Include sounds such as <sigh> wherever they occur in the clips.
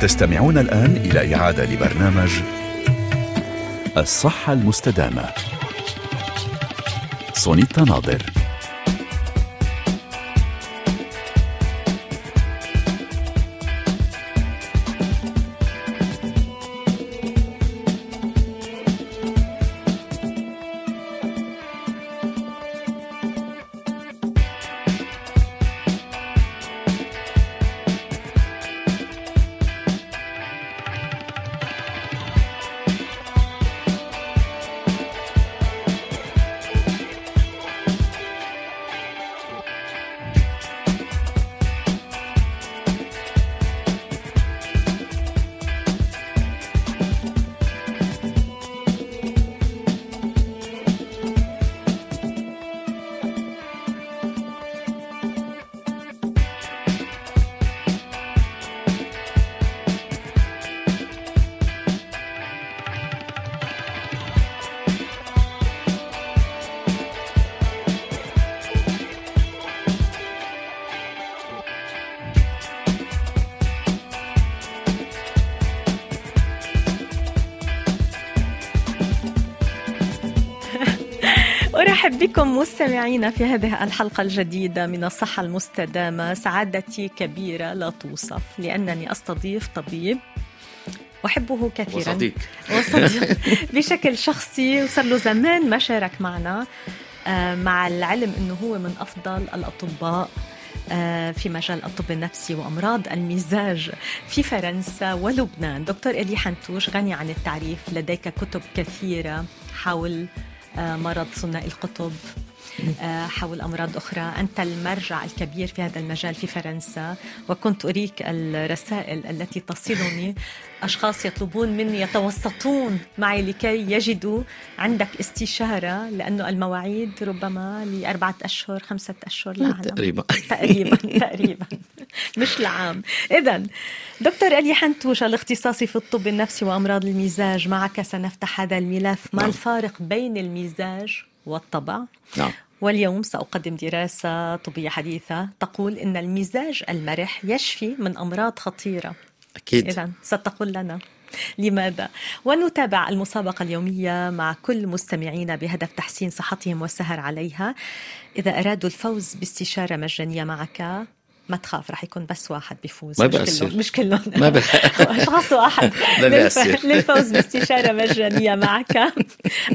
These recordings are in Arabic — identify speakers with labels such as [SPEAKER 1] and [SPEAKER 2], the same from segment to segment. [SPEAKER 1] تستمعون الآن إلى إعادة لبرنامج الصحة المستدامة سونيتا ناظر
[SPEAKER 2] أرحب بكم مستمعينا في هذه الحلقة الجديدة من الصحة المستدامة سعادتي كبيرة لا توصف لأنني أستضيف طبيب أحبه كثيرا
[SPEAKER 3] وصديق
[SPEAKER 2] وصديق بشكل شخصي وصار له زمان ما شارك معنا آه، مع العلم أنه هو من أفضل الأطباء آه، في مجال الطب النفسي وأمراض المزاج في فرنسا ولبنان دكتور إلي حنتوش غني عن التعريف لديك كتب كثيرة حول آه، مرض ثنائي القطب آه، حول أمراض أخرى أنت المرجع الكبير في هذا المجال في فرنسا وكنت أريك الرسائل التي تصلني أشخاص يطلبون مني يتوسطون معي لكي يجدوا عندك استشارة لأنه المواعيد ربما لأربعة أشهر خمسة أشهر لا أعلم
[SPEAKER 3] تقريبا
[SPEAKER 2] <laughs> تقريبا تقريبا مش <laughs> العام اذا دكتور الي حنتوشه الاختصاصي في الطب النفسي وامراض المزاج معك سنفتح هذا الملف ما
[SPEAKER 3] نعم.
[SPEAKER 2] الفارق بين المزاج والطبع
[SPEAKER 3] نعم
[SPEAKER 2] واليوم سأقدم دراسة طبية حديثة تقول إن المزاج المرح يشفي من أمراض خطيرة
[SPEAKER 3] اكيد
[SPEAKER 2] إذا ستقول لنا لماذا؟ ونتابع المسابقة اليومية مع كل مستمعينا بهدف تحسين صحتهم والسهر عليها إذا أرادوا الفوز باستشارة مجانية معك ما تخاف رح يكون بس واحد بيفوز
[SPEAKER 3] ما
[SPEAKER 2] مش
[SPEAKER 3] بأثر.
[SPEAKER 2] كلهم مش كلهم
[SPEAKER 3] ما بأ-
[SPEAKER 2] <laughs> اشخاص واحد
[SPEAKER 3] <laughs> ما
[SPEAKER 2] للف-
[SPEAKER 3] بأثر.
[SPEAKER 2] للفوز باستشارة مجانية معك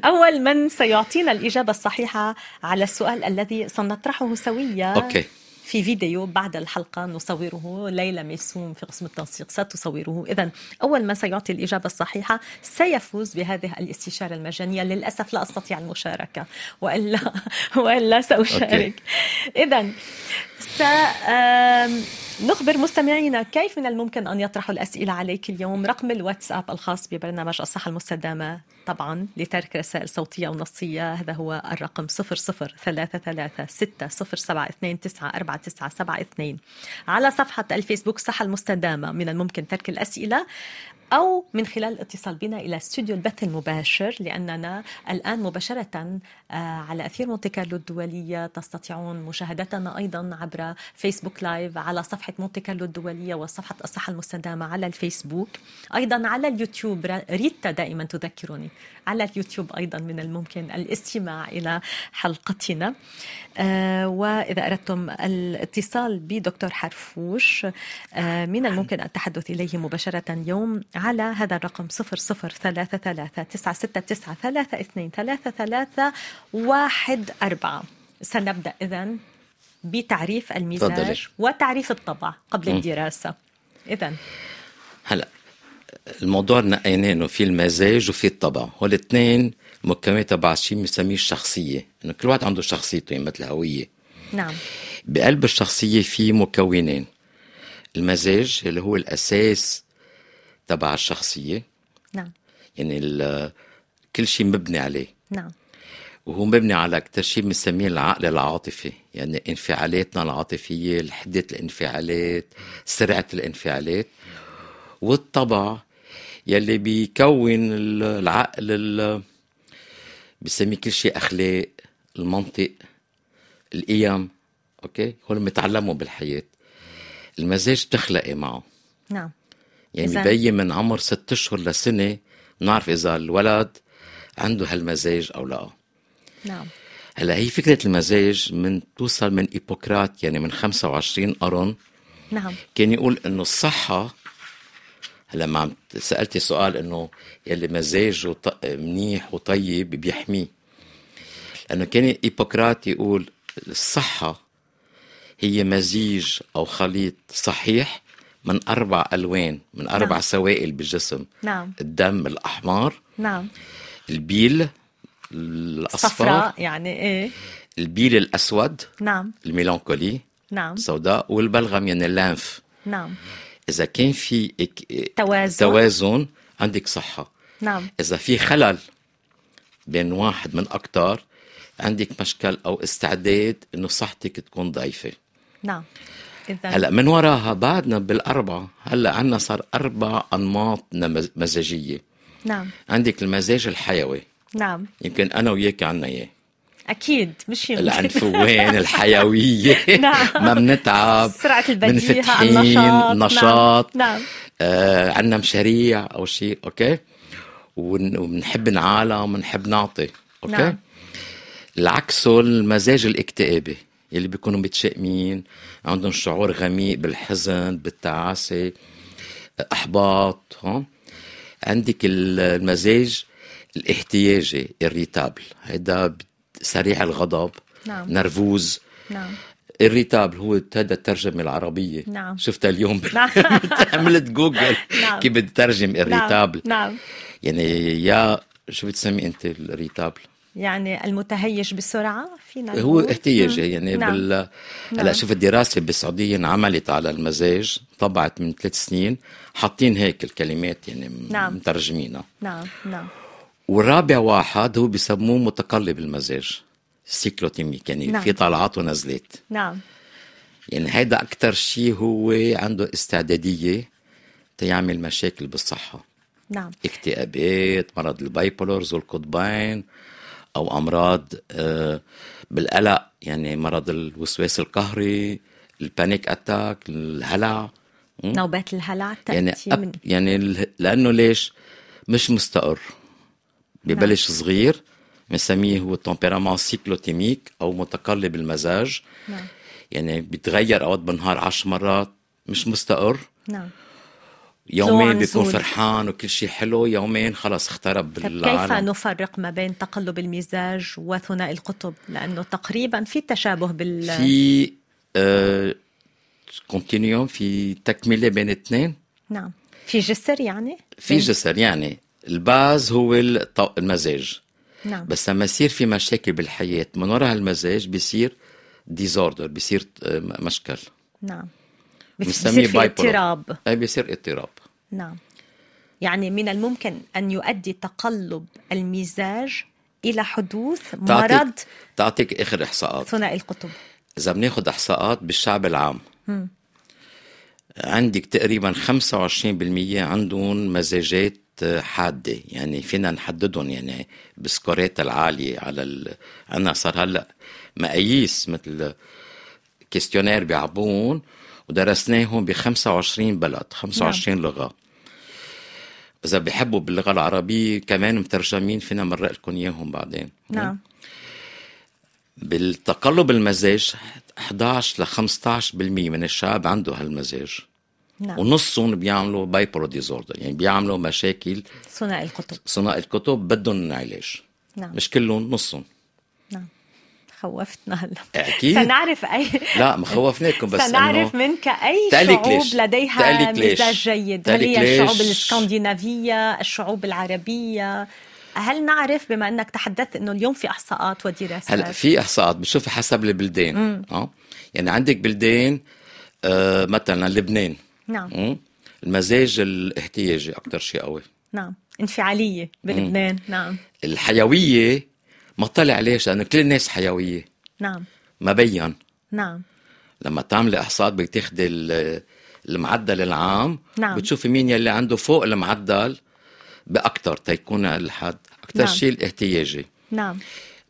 [SPEAKER 2] أول من سيعطينا الإجابة الصحيحة على السؤال الذي سنطرحه سويا
[SPEAKER 3] اوكي
[SPEAKER 2] في فيديو بعد الحلقة نصوره ليلى ميسوم في قسم التنسيق ستصوره إذا أول من سيعطي الإجابة الصحيحة سيفوز بهذه الاستشارة المجانية للأسف لا أستطيع المشاركة وإلا وإلا سأشارك إذا سنخبر مستمعينا كيف من الممكن أن يطرحوا الأسئلة عليك اليوم رقم الواتساب الخاص ببرنامج الصحة المستدامة طبعا لترك رسائل صوتية أو نصية هذا هو الرقم 0033607299492 على صفحة الفيسبوك الصحة المستدامة من الممكن ترك الأسئلة أو من خلال الاتصال بنا إلى استوديو البث المباشر لأننا الآن مباشرة آه، على أثير مونتي كارلو الدولية تستطيعون مشاهدتنا أيضا عبر فيسبوك لايف على صفحة مونتي كارلو الدولية وصفحة الصحة المستدامة على الفيسبوك أيضا على اليوتيوب را- ريتا دائما تذكرني على اليوتيوب أيضا من الممكن الاستماع إلى حلقتنا آه، وإذا أردتم الاتصال بدكتور حرفوش آه، من
[SPEAKER 3] نعم.
[SPEAKER 2] الممكن التحدث إليه مباشرة يوم على هذا الرقم 0033969323314 سنبدأ إذن بتعريف
[SPEAKER 3] تفضلي.
[SPEAKER 2] المزاج وتعريف الطبع قبل
[SPEAKER 3] مم.
[SPEAKER 2] الدراسة إذا
[SPEAKER 3] هلا الموضوع نقيناه انه في المزاج وفي الطبع والاثنين مكونات تبع شيء بنسميه الشخصيه انه كل واحد عنده شخصيته يعني مثل هويه
[SPEAKER 2] نعم
[SPEAKER 3] بقلب الشخصيه في مكونين المزاج اللي هو الاساس تبع الشخصيه
[SPEAKER 2] نعم
[SPEAKER 3] يعني ال- كل شيء مبني عليه
[SPEAKER 2] نعم
[SPEAKER 3] وهو مبني على كتير شيء بنسميه العقل العاطفي يعني انفعالاتنا العاطفية حدة الانفعالات سرعة الانفعالات والطبع يلي بيكون ال- العقل ال- بسميه كل شيء أخلاق المنطق القيم أوكي هول متعلموا بالحياة المزاج بتخلقي معه
[SPEAKER 2] نعم
[SPEAKER 3] يعني
[SPEAKER 2] إذن-
[SPEAKER 3] بيي من عمر ست اشهر لسنه بنعرف اذا الولد عنده هالمزاج او لا
[SPEAKER 2] نعم
[SPEAKER 3] هلا هي فكره المزاج من توصل من ايبوكرات يعني من 25 قرن
[SPEAKER 2] نعم
[SPEAKER 3] كان يقول انه الصحه هلا ما عم سالتي سؤال انه يلي مزاجه ط- منيح وطيب بيحميه لانه كان هيبوكرات يقول الصحه هي مزيج او خليط صحيح من اربع الوان من اربع
[SPEAKER 2] نعم.
[SPEAKER 3] سوائل بالجسم
[SPEAKER 2] نعم
[SPEAKER 3] الدم الاحمر
[SPEAKER 2] نعم
[SPEAKER 3] البيل الاصفر
[SPEAKER 2] صفراء يعني ايه
[SPEAKER 3] البيل الاسود
[SPEAKER 2] نعم
[SPEAKER 3] الميلانكولي
[SPEAKER 2] نعم
[SPEAKER 3] السوداء والبلغم يعني اللانف
[SPEAKER 2] نعم
[SPEAKER 3] اذا كان في إك...
[SPEAKER 2] توازن.
[SPEAKER 3] توازن عندك صحه
[SPEAKER 2] نعم
[SPEAKER 3] اذا في خلل بين واحد من اكثر عندك مشكل او استعداد انه صحتك تكون ضعيفه
[SPEAKER 2] نعم اذا
[SPEAKER 3] هلا من وراها بعدنا بالاربعه هلا عندنا صار اربع انماط نمز- مزاجيه
[SPEAKER 2] نعم
[SPEAKER 3] عندك المزاج الحيوي
[SPEAKER 2] نعم
[SPEAKER 3] يمكن انا وياك عنا اياه
[SPEAKER 2] اكيد مش يمكن. <laughs>
[SPEAKER 3] العنفوان الحيويه
[SPEAKER 2] نعم.
[SPEAKER 3] ما بنتعب
[SPEAKER 2] سرعه البديهه
[SPEAKER 3] منفتحين،
[SPEAKER 2] النشاط نعم،
[SPEAKER 3] نشاط.
[SPEAKER 2] نعم
[SPEAKER 3] آه عندنا مشاريع او شيء اوكي ون- وبنحب نعالم ونحب نعطي اوكي
[SPEAKER 2] نعم.
[SPEAKER 3] نعم. العكس المزاج الاكتئابي اللي بيكونوا متشائمين عندهم شعور غميق بالحزن بالتعاسه احباط ها عندك ال- المزاج الاحتياجي الريتابل هيدا بت- سريع الغضب
[SPEAKER 2] نعم.
[SPEAKER 3] نرفوز
[SPEAKER 2] نعم
[SPEAKER 3] الريتابل هو هذا الترجمة العربية
[SPEAKER 2] نعم.
[SPEAKER 3] شفتها اليوم
[SPEAKER 2] <laughs> نعم.
[SPEAKER 3] عملت جوجل
[SPEAKER 2] نعم.
[SPEAKER 3] كيف بتترجم
[SPEAKER 2] نعم
[SPEAKER 3] الريتابل
[SPEAKER 2] نعم
[SPEAKER 3] يعني يا شو بتسمي انت الريتابل
[SPEAKER 2] يعني المتهيج بسرعه فينا
[SPEAKER 3] هو
[SPEAKER 2] نقول.
[SPEAKER 3] احتياجي يعني
[SPEAKER 2] نعم.
[SPEAKER 3] بال هلا
[SPEAKER 2] نعم.
[SPEAKER 3] شوف الدراسه بالسعوديه انعملت على المزاج طبعت من ثلاث سنين حاطين هيك الكلمات يعني م-
[SPEAKER 2] نعم.
[SPEAKER 3] مترجمينها
[SPEAKER 2] نعم نعم
[SPEAKER 3] والرابع واحد هو بسموه متقلب المزاج سيكلوتيميك يعني
[SPEAKER 2] نعم.
[SPEAKER 3] نعم. في طلعات ونزلات
[SPEAKER 2] نعم
[SPEAKER 3] يعني هيدا أكتر شيء هو عنده استعدادية تيعمل مشاكل بالصحة
[SPEAKER 2] نعم
[SPEAKER 3] اكتئابات مرض البايبولرز والقطبين أو أمراض آه، بالقلق يعني مرض الوسواس القهري البانيك أتاك الهلع م?
[SPEAKER 2] نوبات الهلع
[SPEAKER 3] يعني
[SPEAKER 2] تاتي من
[SPEAKER 3] أب يعني ال- لأنه ليش مش مستقر ببلش
[SPEAKER 2] نعم.
[SPEAKER 3] صغير بنسميه هو التمبيرامون سيكلوتيميك أو متقلب المزاج
[SPEAKER 2] نعم
[SPEAKER 3] يعني بيتغير اوقات بالنهار عشر مرات مش مستقر
[SPEAKER 2] نعم طلوع
[SPEAKER 3] يومين بيكون
[SPEAKER 2] نزول.
[SPEAKER 3] فرحان وكل شيء حلو يومين خلص اخترب
[SPEAKER 2] طيب كيف
[SPEAKER 3] بالعالم
[SPEAKER 2] نفرق ما بين تقلب المزاج وثنائي القطب لانه تقريبا في تشابه بال
[SPEAKER 3] في آه كونتينيوم في تكمله بين اثنين
[SPEAKER 2] نعم في جسر يعني
[SPEAKER 3] في جسر يعني الباز هو الط- المزاج
[SPEAKER 2] نعم
[SPEAKER 3] بس لما يصير في مشاكل بالحياه من وراء هالمزاج بيصير ديزوردر بيصير آه، م- مشكل
[SPEAKER 2] نعم بس- بصير
[SPEAKER 3] بنسميه
[SPEAKER 2] في
[SPEAKER 3] bipolar.
[SPEAKER 2] اضطراب
[SPEAKER 3] اي بيصير اضطراب
[SPEAKER 2] نعم يعني من الممكن ان يؤدي تقلب المزاج الى حدوث
[SPEAKER 3] تعطيك-
[SPEAKER 2] مرض
[SPEAKER 3] تعطيك اخر احصاءات
[SPEAKER 2] ثنائي القطب
[SPEAKER 3] إذا بناخد إحصاءات بالشعب العام عندك تقريبا 25% عندهم مزاجات حادة يعني فينا نحددهم يعني بسكورات العالية على ال... أنا صار هلأ مقاييس مثل كيستيونير بيعبون ودرسناهم ب 25 بلد 25 نعم. لغة إذا بيحبوا باللغة العربية كمان مترجمين فينا مرق لكم إياهم بعدين
[SPEAKER 2] نعم
[SPEAKER 3] بالتقلب المزاج 11 ل 15% من الشعب عنده هالمزاج
[SPEAKER 2] نعم
[SPEAKER 3] ونصهم بيعملوا بايبولو ديزوردر يعني بيعملوا مشاكل
[SPEAKER 2] ثنائي القطب
[SPEAKER 3] صناع الكتب بدهم علاج
[SPEAKER 2] نعم.
[SPEAKER 3] مش كلهم نصهم
[SPEAKER 2] نعم خوفتنا هلا
[SPEAKER 3] أكيد.
[SPEAKER 2] سنعرف اي
[SPEAKER 3] لا ما خوفناكم بس
[SPEAKER 2] سنعرف
[SPEAKER 3] انه
[SPEAKER 2] منك أي
[SPEAKER 3] تقلك
[SPEAKER 2] شعوب
[SPEAKER 3] ليش؟
[SPEAKER 2] لديها
[SPEAKER 3] تقلك ليش؟
[SPEAKER 2] مزاج جيد هل
[SPEAKER 3] تقلك
[SPEAKER 2] هي الشعوب
[SPEAKER 3] ليش؟
[SPEAKER 2] الاسكندنافية الشعوب العربية هل نعرف بما أنك تحدثت أنه اليوم في إحصاءات ودراسات
[SPEAKER 3] هلا في احصاءات بتشوفي حسب البلدان اه يعني عندك بلدان آه مثلا لبنان
[SPEAKER 2] نعم
[SPEAKER 3] مم؟ المزاج الاحتياجي اكثر شيء قوي
[SPEAKER 2] نعم انفعالية بلبنان نعم
[SPEAKER 3] الحيويه ما طلع ليش لانه كل الناس حيويه
[SPEAKER 2] نعم
[SPEAKER 3] ما بين
[SPEAKER 2] نعم
[SPEAKER 3] لما تعملي احصاءات بتاخدي ال- المعدل العام
[SPEAKER 2] نعم.
[SPEAKER 3] بتشوفي مين يلي عنده فوق المعدل باكثر تيكون الحد اكثر
[SPEAKER 2] نعم.
[SPEAKER 3] نعم. شيء الاحتياجي
[SPEAKER 2] نعم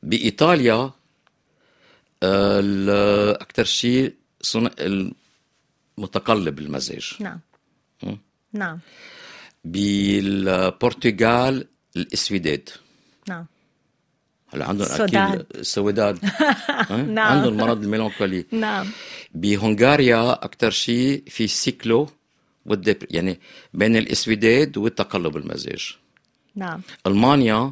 [SPEAKER 3] بايطاليا آه، اكثر شيء صن... المتقلب المزاج
[SPEAKER 2] نعم نعم
[SPEAKER 3] بالبرتغال الاسوداد
[SPEAKER 2] نعم
[SPEAKER 3] هلا عندهم اكيد
[SPEAKER 2] سوداد.
[SPEAKER 3] السويداد
[SPEAKER 2] <laughs>
[SPEAKER 3] ها؟
[SPEAKER 2] نعم.
[SPEAKER 3] عندهم مرض الميلانكولي
[SPEAKER 2] نعم
[SPEAKER 3] بهنغاريا اكثر شيء في سيكلو والدبر يعني بين الاسوداد والتقلب المزاج
[SPEAKER 2] نعم
[SPEAKER 3] المانيا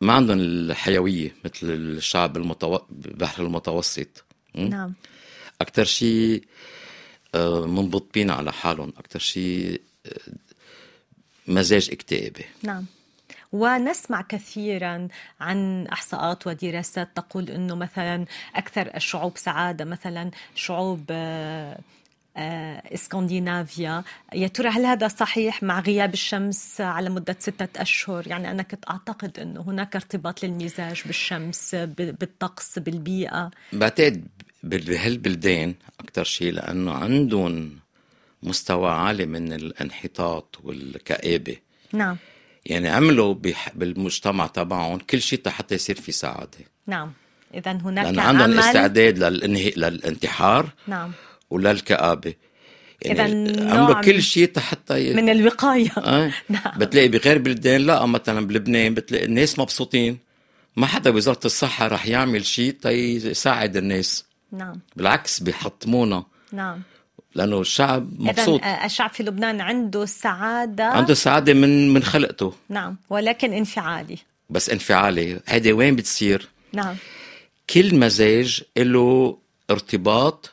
[SPEAKER 3] ما عندهم الحيويه مثل الشعب المتو... البحر المتوسط
[SPEAKER 2] نعم
[SPEAKER 3] اكثر شيء آه، منبطبين على حالهم اكثر شيء آه، مزاج اكتئابي
[SPEAKER 2] نعم ونسمع كثيرا عن احصاءات ودراسات تقول انه مثلا اكثر الشعوب سعاده مثلا شعوب آه، آه، اسكندنافيا يا ترى هل هذا صحيح مع غياب الشمس على مدة ستة أشهر يعني أنا كنت أعتقد أنه هناك ارتباط للمزاج بالشمس ب- بالطقس بالبيئة
[SPEAKER 3] بعتقد بال- بهالبلدان اكثر شيء لانه عندهم مستوى عالي من الانحطاط والكآبه
[SPEAKER 2] نعم
[SPEAKER 3] يعني عملوا بح- بالمجتمع تبعهم كل شيء حتى يصير في سعاده
[SPEAKER 2] نعم إذا هناك
[SPEAKER 3] لانه عندهم
[SPEAKER 2] عمل
[SPEAKER 3] استعداد للانهي... للانتحار
[SPEAKER 2] نعم
[SPEAKER 3] وللكآبة يعني
[SPEAKER 2] إذا
[SPEAKER 3] عملوا
[SPEAKER 2] نوع
[SPEAKER 3] كل شيء حتى ي...
[SPEAKER 2] من الوقاية
[SPEAKER 3] <laughs> آه.
[SPEAKER 2] <laughs> نعم.
[SPEAKER 3] بتلاقي بغير بلدان لا مثلا بلبنان بتلاقي الناس مبسوطين ما حدا بوزارة الصحة رح يعمل شيء تيساعد الناس
[SPEAKER 2] نعم
[SPEAKER 3] بالعكس بيحطمونا
[SPEAKER 2] نعم
[SPEAKER 3] لأنه الشعب مبسوط
[SPEAKER 2] إذا الشعب في لبنان عنده السعادة
[SPEAKER 3] عنده سعادة من من خلقته
[SPEAKER 2] نعم ولكن انفعالي
[SPEAKER 3] بس انفعالي هيدي وين بتصير
[SPEAKER 2] نعم
[SPEAKER 3] كل مزاج له ارتباط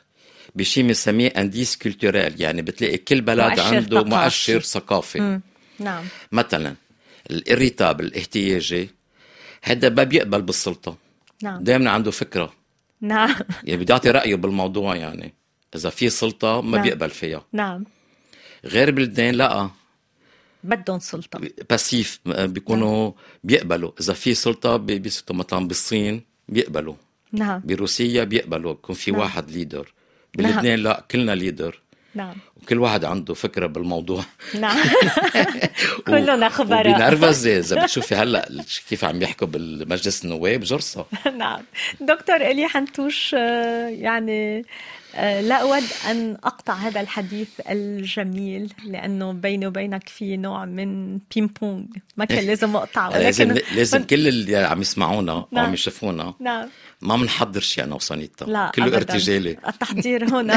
[SPEAKER 3] بشيء بنسميه انديس كولتورال يعني بتلاقي كل بلد
[SPEAKER 2] مؤشر
[SPEAKER 3] عنده
[SPEAKER 2] ثقافي.
[SPEAKER 3] مؤشر ثقافي
[SPEAKER 2] مم. نعم
[SPEAKER 3] مثلا الاريتابل الاحتياجي هذا ما بيقبل بالسلطه
[SPEAKER 2] نعم
[SPEAKER 3] دائما عنده فكره
[SPEAKER 2] نعم <laughs>
[SPEAKER 3] يعني بده يعطي رايه بالموضوع يعني اذا في سلطه ما
[SPEAKER 2] نعم.
[SPEAKER 3] بيقبل فيها
[SPEAKER 2] نعم
[SPEAKER 3] غير بلدان لا
[SPEAKER 2] بدهم سلطة
[SPEAKER 3] باسيف آه، بيكونوا
[SPEAKER 2] نعم.
[SPEAKER 3] بيقبلوا اذا في سلطه بي- بيسكتوا مثلا بالصين بيقبلوا
[SPEAKER 2] نعم
[SPEAKER 3] بروسيا بيقبلوا بكون في
[SPEAKER 2] نعم.
[SPEAKER 3] واحد ليدر
[SPEAKER 2] نعم.
[SPEAKER 3] بلبنان لا كلنا ليدر
[SPEAKER 2] نعم
[SPEAKER 3] وكل واحد عنده فكره بالموضوع <laughs>
[SPEAKER 2] نعم <laughs> كلنا خبراء
[SPEAKER 3] وبنرفز اذا بتشوفي هلا كيف عم يحكوا بالمجلس النواب جرصه
[SPEAKER 2] <laughs> نعم دكتور إلي حنتوش آه، يعني آه، لا أود أن أقطع هذا الحديث الجميل لأنه بيني وبينك في نوع من بيم بونج ما كان لازم أقطع
[SPEAKER 3] هلا إيه. يعني لازم
[SPEAKER 2] ولكن
[SPEAKER 3] لازم كل اللي عم يسمعونا او
[SPEAKER 2] نعم.
[SPEAKER 3] عم يشوفونا
[SPEAKER 2] نعم
[SPEAKER 3] ما بنحضر شيء انا وسانيتا
[SPEAKER 2] لا
[SPEAKER 3] كله
[SPEAKER 2] أبداً.
[SPEAKER 3] ارتجالي
[SPEAKER 2] التحضير
[SPEAKER 3] <laughs>
[SPEAKER 2] هنا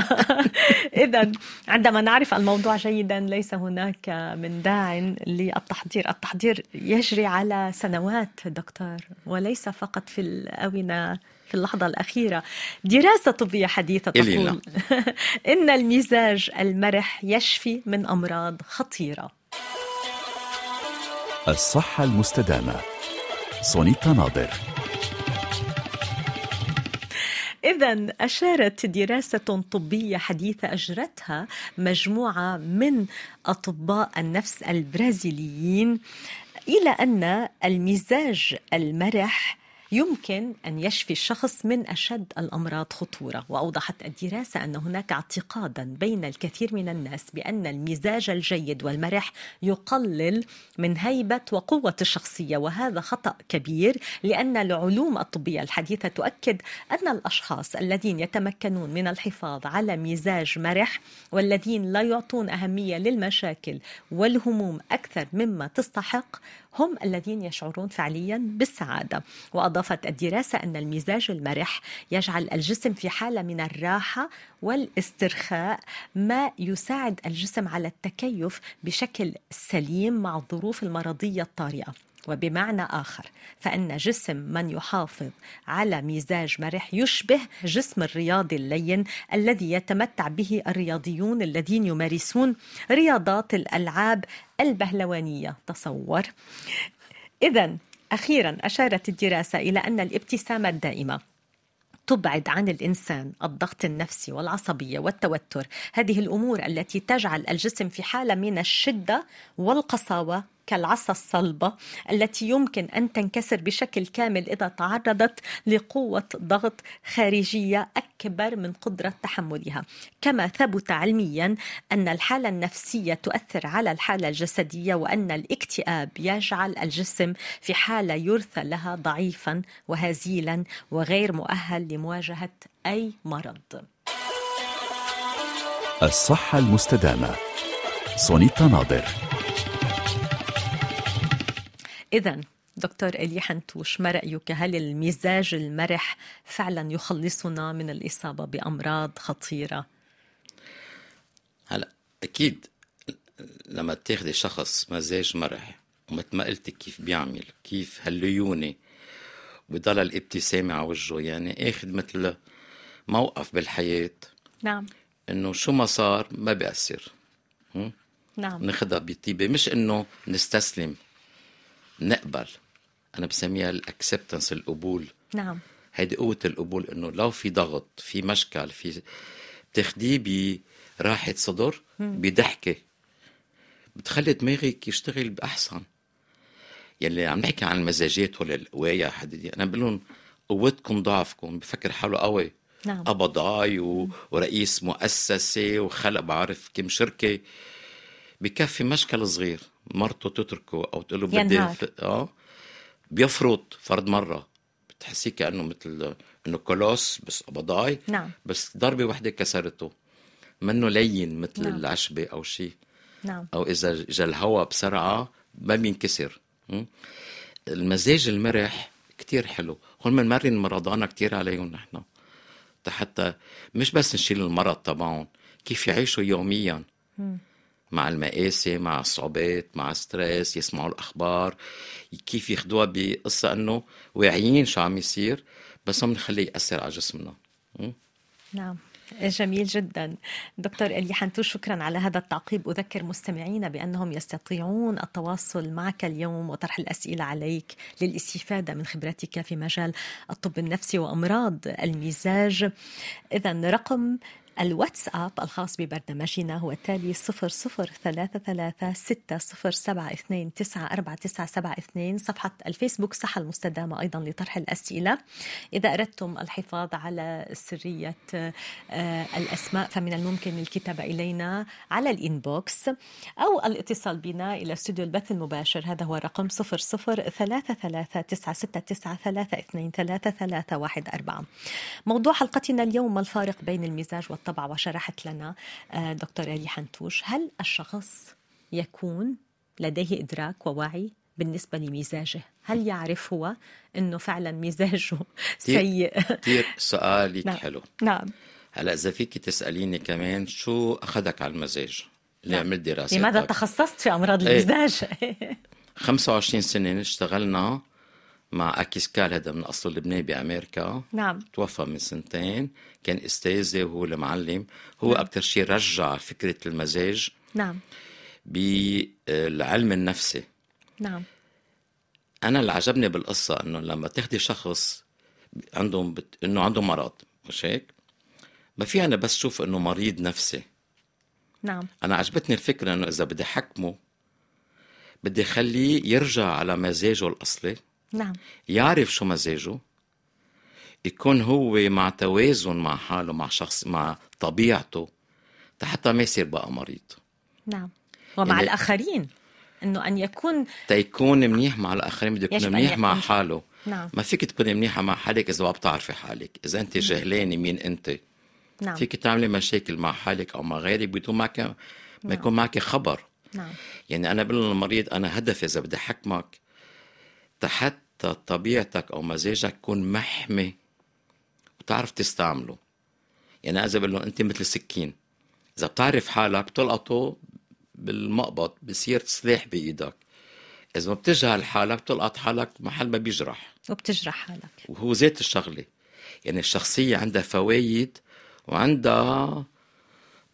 [SPEAKER 2] إذا عندما نعرف الموضوع جيدا ليس هناك من داع للتحضير التحضير يجري على سنوات دكتور وليس فقط في الآونة في اللحظة الأخيرة دراسة طبية حديثة
[SPEAKER 3] إلينا.
[SPEAKER 2] تقول <laughs> إن المزاج المرح يشفي من أمراض خطيرة
[SPEAKER 1] الصحة المستدامة سونيتا ناظر
[SPEAKER 2] إذا أشارت دراسة طبية حديثة أجرتها مجموعة من أطباء النفس البرازيليين إلى أن المزاج المرح يمكن أن يشفي الشخص من أشد الأمراض خطورة وأوضحت الدراسة أن هناك اعتقادا بين الكثير من الناس بأن المزاج الجيد والمرح يقلل من هيبة وقوة الشخصية وهذا خطأ كبير لأن العلوم الطبية الحديثة تؤكد أن الأشخاص الذين يتمكنون من الحفاظ على مزاج مرح والذين لا يعطون أهمية للمشاكل والهموم أكثر مما تستحق هم الذين يشعرون فعليا بالسعادة وأضافت الدراسة أن المزاج المرح يجعل الجسم في حالة من الراحة والاسترخاء ما يساعد الجسم على التكيف بشكل سليم مع الظروف المرضية الطارئة وبمعنى آخر فإن جسم من يحافظ على مزاج مرح يشبه جسم الرياضي اللين الذي يتمتع به الرياضيون الذين يمارسون رياضات الألعاب البهلوانية تصور إذا أخيرا أشارت الدراسة إلى أن الابتسامة الدائمة تبعد عن الانسان الضغط النفسي والعصبيه والتوتر، هذه الامور التي تجعل الجسم في حاله من الشده والقساوه كالعصا الصلبه التي يمكن ان تنكسر بشكل كامل اذا تعرضت لقوه ضغط خارجيه اكبر من قدره تحملها، كما ثبت علميا ان الحاله النفسيه تؤثر على الحاله الجسديه وان الاكتئاب يجعل الجسم في حاله يرثى لها ضعيفا وهزيلا وغير مؤهل لمواجهه اي مرض.
[SPEAKER 1] الصحة المستدامة سونيتا ناظر
[SPEAKER 2] إذا دكتور إلي حنتوش ما رأيك هل المزاج المرح فعلا يخلصنا من الإصابة بأمراض خطيرة؟
[SPEAKER 3] هلا اكيد لما تاخذي شخص مزاج مرح ومثل ما قلت كيف بيعمل كيف هالليونه بضل الابتسامه على وجهه يعني اخذ مثل موقف بالحياه
[SPEAKER 2] نعم
[SPEAKER 3] انه شو ما صار ما بيأثر
[SPEAKER 2] نعم
[SPEAKER 3] ناخذها بطيبه مش انه نستسلم نقبل انا بسميها الاكسبتنس القبول
[SPEAKER 2] نعم
[SPEAKER 3] هيدي قوة القبول انه لو في ضغط في مشكل في بتاخديه براحة صدر بضحكة بتخلي دماغك يشتغل بأحسن يلي عم نحكي عن المزاجات ولا القوايا حديدي انا بقول لهم قوتكم ضعفكم بفكر حاله قوي
[SPEAKER 2] نعم
[SPEAKER 3] قبضاي و... ورئيس مؤسسة وخلق بعرف كم شركة بكفي مشكل صغير مرته تتركه أو تقول له بدي
[SPEAKER 2] ينهار.
[SPEAKER 3] ف- اه بيفرط فرض مرة بتحسيه كأنه مثل إنه كولوس بس قبضاي
[SPEAKER 2] نعم
[SPEAKER 3] بس ضربة واحدة كسرته منه لين مثل
[SPEAKER 2] نعم.
[SPEAKER 3] العشبة أو شيء
[SPEAKER 2] نعم
[SPEAKER 3] أو إذا جا الهواء بسرعة ما بينكسر م? المزاج المرح كتير حلو هون بنمرن مرضانا كتير عليهم نحن حتى مش بس نشيل المرض تبعهم كيف يعيشوا يوميا
[SPEAKER 2] مم.
[SPEAKER 3] مع المآسي مع الصعوبات مع ستريس يسمعوا الأخبار كيف ياخدوها بقصة أنه واعيين شو عم يصير بس ما بنخليه يأثر على جسمنا م?
[SPEAKER 2] نعم جميل جدا دكتور إلي حنتو شكرا على هذا التعقيب أذكر مستمعينا بأنهم يستطيعون التواصل معك اليوم وطرح الأسئلة عليك للاستفادة من خبرتك في مجال الطب النفسي وأمراض المزاج إذا رقم الواتساب الخاص ببرنامجنا هو التالي 003360729492 صفحة الفيسبوك صحة المستدامة أيضا لطرح الأسئلة إذا أردتم الحفاظ على سرية آه، الأسماء فمن الممكن الكتابة إلينا على الإنبوكس أو الاتصال بنا إلى استوديو البث المباشر هذا هو الرقم 00339693323314 موضوع حلقتنا اليوم الفارق بين المزاج والطبع وشرحت لنا آه، دكتور آلي حنتوش هل الشخص يكون لديه إدراك ووعي بالنسبة لمزاجه هل يعرف هو أنه فعلا مزاجه سيء <laughs>
[SPEAKER 3] كتير سؤالك
[SPEAKER 2] نعم.
[SPEAKER 3] حلو
[SPEAKER 2] نعم
[SPEAKER 3] هلا إذا فيكي تسأليني كمان شو أخذك على المزاج؟ ليه
[SPEAKER 2] نعم.
[SPEAKER 3] عملت دراسات؟ طيب.
[SPEAKER 2] لماذا تخصصت في امراض
[SPEAKER 3] إيه.
[SPEAKER 2] المزاج؟ <laughs>
[SPEAKER 3] 25 سنة اشتغلنا مع أكيسكال هذا من أصله اللبناني بأمريكا
[SPEAKER 2] نعم
[SPEAKER 3] توفى من سنتين كان استاذي وهو المعلم هو أكثر شيء رجع فكرة المزاج
[SPEAKER 2] نعم
[SPEAKER 3] بالعلم النفسي
[SPEAKER 2] نعم
[SPEAKER 3] أنا اللي عجبني بالقصة إنه لما تاخدي شخص عندهم بت... إنه عنده مرض مش هيك؟ ما في أنا بس شوف إنه مريض نفسي
[SPEAKER 2] نعم
[SPEAKER 3] أنا عجبتني الفكرة إنه إذا بدي حكمه بدي خليه يرجع على مزاجه الأصلي
[SPEAKER 2] نعم
[SPEAKER 3] يعرف شو مزاجه يكون هو مع توازن مع حاله مع شخص مع طبيعته حتى ما يصير بقى مريض
[SPEAKER 2] نعم ومع
[SPEAKER 3] يعني-
[SPEAKER 2] الاخرين انه ان يكون
[SPEAKER 3] تيكون منيح مع الاخرين بده
[SPEAKER 2] يجب
[SPEAKER 3] يكون
[SPEAKER 2] أن
[SPEAKER 3] منيح مع
[SPEAKER 2] يكون-
[SPEAKER 3] حاله
[SPEAKER 2] نعم
[SPEAKER 3] ما فيك تكوني منيحه مع حالك اذا ما بتعرفي حالك اذا انت جهلانه مين انت
[SPEAKER 2] نعم
[SPEAKER 3] فيك تعملي مشاكل مع حالك او مع غيرك بدون معك ما يكون معك خبر
[SPEAKER 2] نعم
[SPEAKER 3] يعني انا بقول للمريض انا هدفي اذا بدي حكمك حتى طبيعتك او مزاجك يكون محمي وتعرف تستعمله يعني اذا بقول له انت مثل سكين اذا بتعرف حالك بتلقطه بالمقبض بصير سلاح بايدك اذا ما بتجهل حالك بتلقط حالك محل ما بيجرح
[SPEAKER 2] وبتجرح حالك
[SPEAKER 3] وهو ذات الشغله يعني الشخصيه عندها فوايد وعندها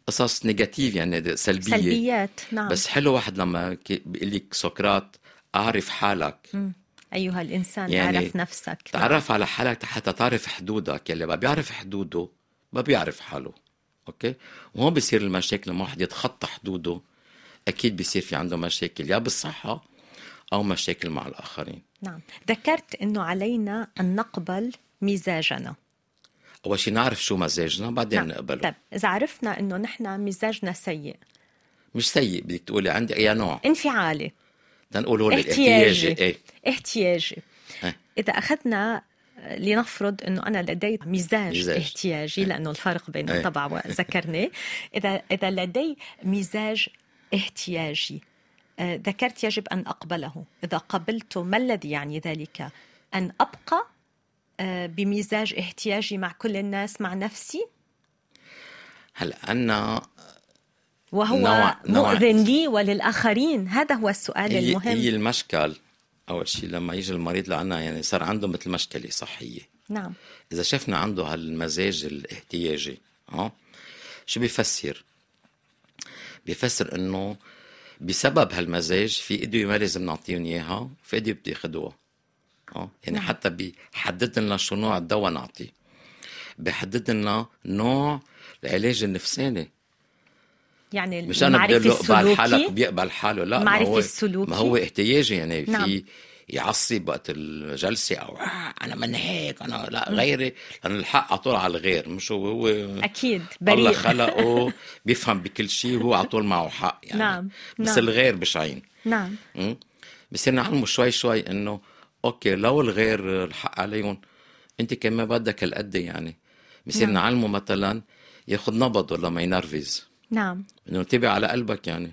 [SPEAKER 3] قصص نيجاتيف يعني سلبيه,
[SPEAKER 2] سلبيات نعم
[SPEAKER 3] بس حلو واحد لما كي- بيقول لك سقراط اعرف حالك
[SPEAKER 2] مم. ايها الانسان
[SPEAKER 3] يعني
[SPEAKER 2] اعرف نفسك نعم.
[SPEAKER 3] تعرف على حالك حتى تعرف حدودك يلي ما بيعرف حدوده ما بيعرف حاله اوكي وهون بصير المشاكل لما واحد يتخطى حدوده اكيد بصير في عنده مشاكل يا بالصحه او مشاكل مع الاخرين
[SPEAKER 2] نعم ذكرت انه علينا ان نقبل مزاجنا
[SPEAKER 3] اول شيء نعرف شو مزاجنا بعدين
[SPEAKER 2] نعم. طيب
[SPEAKER 3] نقبله
[SPEAKER 2] اذا عرفنا انه نحن مزاجنا سيء
[SPEAKER 3] مش سيء بدك تقولي عندي اي نوع
[SPEAKER 2] انفعالي
[SPEAKER 3] تنقولوا لي
[SPEAKER 2] إيه. احتياجي.
[SPEAKER 3] احتياجي ايه
[SPEAKER 2] احتياجي
[SPEAKER 3] إيه.
[SPEAKER 2] إذا أخذنا آه، لنفرض أنه أنا لدي مزاج,
[SPEAKER 3] مزاج.
[SPEAKER 2] احتياجي لأنه الفرق بين
[SPEAKER 3] إيه. <laughs>
[SPEAKER 2] الطبع وذكرناه إذا إذا لدي مزاج احتياجي آه، ذكرت يجب أن أقبله إذا قبلته ما الذي يعني ذلك أن أبقى آه، بمزاج احتياجي مع كل الناس مع نفسي
[SPEAKER 3] هلا أنا
[SPEAKER 2] وهو
[SPEAKER 3] نوع- نوع-
[SPEAKER 2] مؤذن لي وللآخرين هذا هو السؤال
[SPEAKER 3] هي,
[SPEAKER 2] إيه، المهم
[SPEAKER 3] هي المشكل أول شيء لما يجي المريض لعنا يعني صار عنده مثل مشكلة صحية
[SPEAKER 2] نعم
[SPEAKER 3] إذا شفنا عنده هالمزاج الاحتياجي اه شو بيفسر؟ بيفسر إنه بسبب هالمزاج في أدوية ما لازم نعطيهم إياها في أدوية بده ياخدوها اه يعني حتى بيحدد لنا شو نوع الدواء نعطيه بيحدد لنا نوع العلاج النفساني
[SPEAKER 2] يعني
[SPEAKER 3] مش انا بدي
[SPEAKER 2] المعرفة
[SPEAKER 3] يقبل حالك
[SPEAKER 2] السلوكي
[SPEAKER 3] بيقبل حاله لا ما
[SPEAKER 2] معرفة
[SPEAKER 3] هو
[SPEAKER 2] السلوكي.
[SPEAKER 3] ما هو احتياجي يعني
[SPEAKER 2] نعم.
[SPEAKER 3] في يعصب وقت الجلسه او آه انا من هيك انا لا غيري لانه الحق على طول على الغير مش هو هو
[SPEAKER 2] أكيد
[SPEAKER 3] الله
[SPEAKER 2] بريء <laughs>
[SPEAKER 3] خلقه بيفهم بكل شيء وهو على طول معه حق يعني
[SPEAKER 2] نعم،
[SPEAKER 3] بس
[SPEAKER 2] نعم.
[SPEAKER 3] الغير بشعين
[SPEAKER 2] نعم
[SPEAKER 3] مم. بصير نعلمه شوي شوي انه اوكي لو الغير الحق عليهم انت كمان بدك هالقد يعني بصير
[SPEAKER 2] نعم.
[SPEAKER 3] نعلمه مثلا ياخذ نبضه لما ينرفز
[SPEAKER 2] نعم
[SPEAKER 3] انه انتبه على قلبك يعني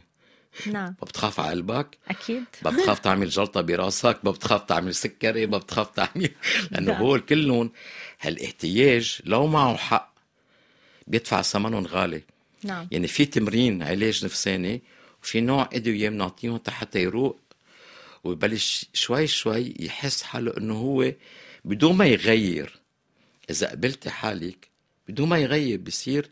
[SPEAKER 2] نعم
[SPEAKER 3] ما بتخاف على قلبك
[SPEAKER 2] أكيد
[SPEAKER 3] ما بتخاف تعمل جلطة براسك ما بتخاف تعمل سكري ما بتخاف تعمل <laughs> لأنه
[SPEAKER 2] نعم.
[SPEAKER 3] هول كلهم هالاحتياج لو معه حق بيدفع ثمنهم غالي
[SPEAKER 2] نعم
[SPEAKER 3] يعني في تمرين علاج نفساني وفي نوع أدوية بنعطيهم تا حتى يروق ويبلش شوي شوي يحس حاله إنه هو بدون ما يغير إذا قبلت حالك بدون ما يغير بصير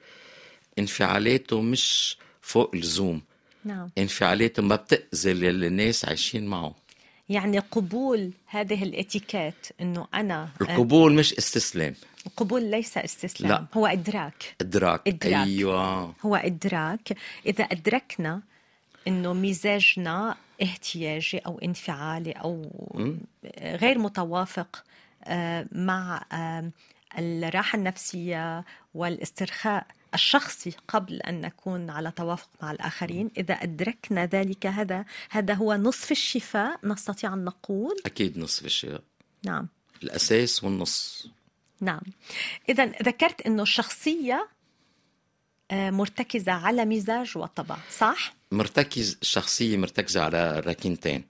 [SPEAKER 3] انفعالاته مش فوق اللزوم
[SPEAKER 2] نعم
[SPEAKER 3] انفعالاته ما بتأذي اللي الناس عايشين معه
[SPEAKER 2] يعني قبول هذه الاتيكيت انه انا
[SPEAKER 3] القبول مش استسلام
[SPEAKER 2] القبول ليس استسلام
[SPEAKER 3] لا.
[SPEAKER 2] هو ادراك
[SPEAKER 3] ادراك,
[SPEAKER 2] إدراك.
[SPEAKER 3] ايوه
[SPEAKER 2] هو ادراك اذا ادركنا انه مزاجنا احتياجي او انفعالي او غير متوافق آه، مع آه، الراحه النفسيه والاسترخاء الشخصي قبل ان نكون على توافق مع الاخرين اذا ادركنا ذلك هذا هذا هو نصف الشفاء نستطيع ان نقول
[SPEAKER 3] اكيد نصف الشيء
[SPEAKER 2] نعم
[SPEAKER 3] الاساس والنص
[SPEAKER 2] نعم إذا ذكرت أنه الشخصية آه، مرتكزة على مزاج وطبع صح؟
[SPEAKER 3] مرتكز الشخصيه مرتكزه على الركينتين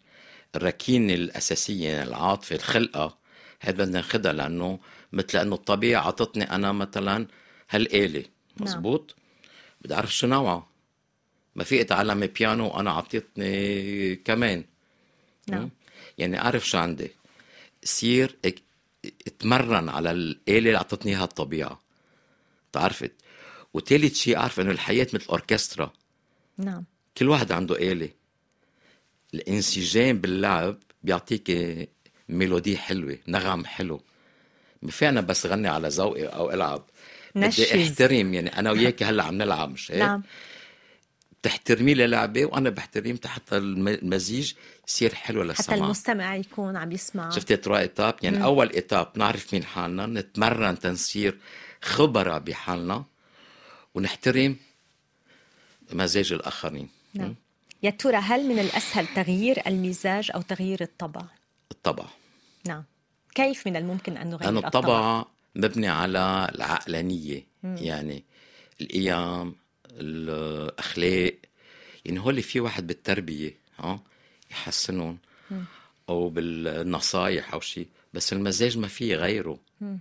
[SPEAKER 3] الركينه الاساسيه يعني العاطفه الخلقه هذا بدنا ناخذها لانه مثل انه الطبيعه عطتني انا مثلا هالاله مزبوط بدي اعرف شو نوعها ما في اتعلم بيانو وانا عطيتني كمان
[SPEAKER 2] نعم
[SPEAKER 3] مم. يعني اعرف شو عندي سير اك- اتمرن على الاله اللي اعطتني اياها الطبيعه تعرفت وتالت شيء اعرف انه الحياه مثل اوركسترا
[SPEAKER 2] نعم
[SPEAKER 3] كل واحد عنده اله الانسجام باللعب بيعطيك ميلودي حلوه نغم حلو ما في انا بس غني على ذوقي او العب
[SPEAKER 2] نشز.
[SPEAKER 3] بدي إيه، احترم يعني
[SPEAKER 2] <laughs>
[SPEAKER 3] انا وياك هلا عم نلعب مش هيك؟
[SPEAKER 2] نعم
[SPEAKER 3] بتحترمي للعبه وانا بحترم حتى الم- المزيج يصير حلو للسماع
[SPEAKER 2] حتى المستمع يكون عم يسمع
[SPEAKER 3] آه. شفتي ترى ايتاب يعني مم. اول ايتاب نعرف مين حالنا نتمرن تنصير خبراء بحالنا ونحترم مزاج الاخرين
[SPEAKER 2] نعم يا ترى هل من الأسهل تغيير المزاج أو تغيير الطبع؟
[SPEAKER 3] الطبع
[SPEAKER 2] نعم كيف من الممكن أن نغير
[SPEAKER 3] لانه
[SPEAKER 2] الطبع؟
[SPEAKER 3] الطبع مبني على العقلانيه مم. يعني القيم الاخلاق يعني هول في واحد بالتربيه اه يحسنهم او بالنصايح او شيء بس المزاج ما فيه غيره
[SPEAKER 2] مم.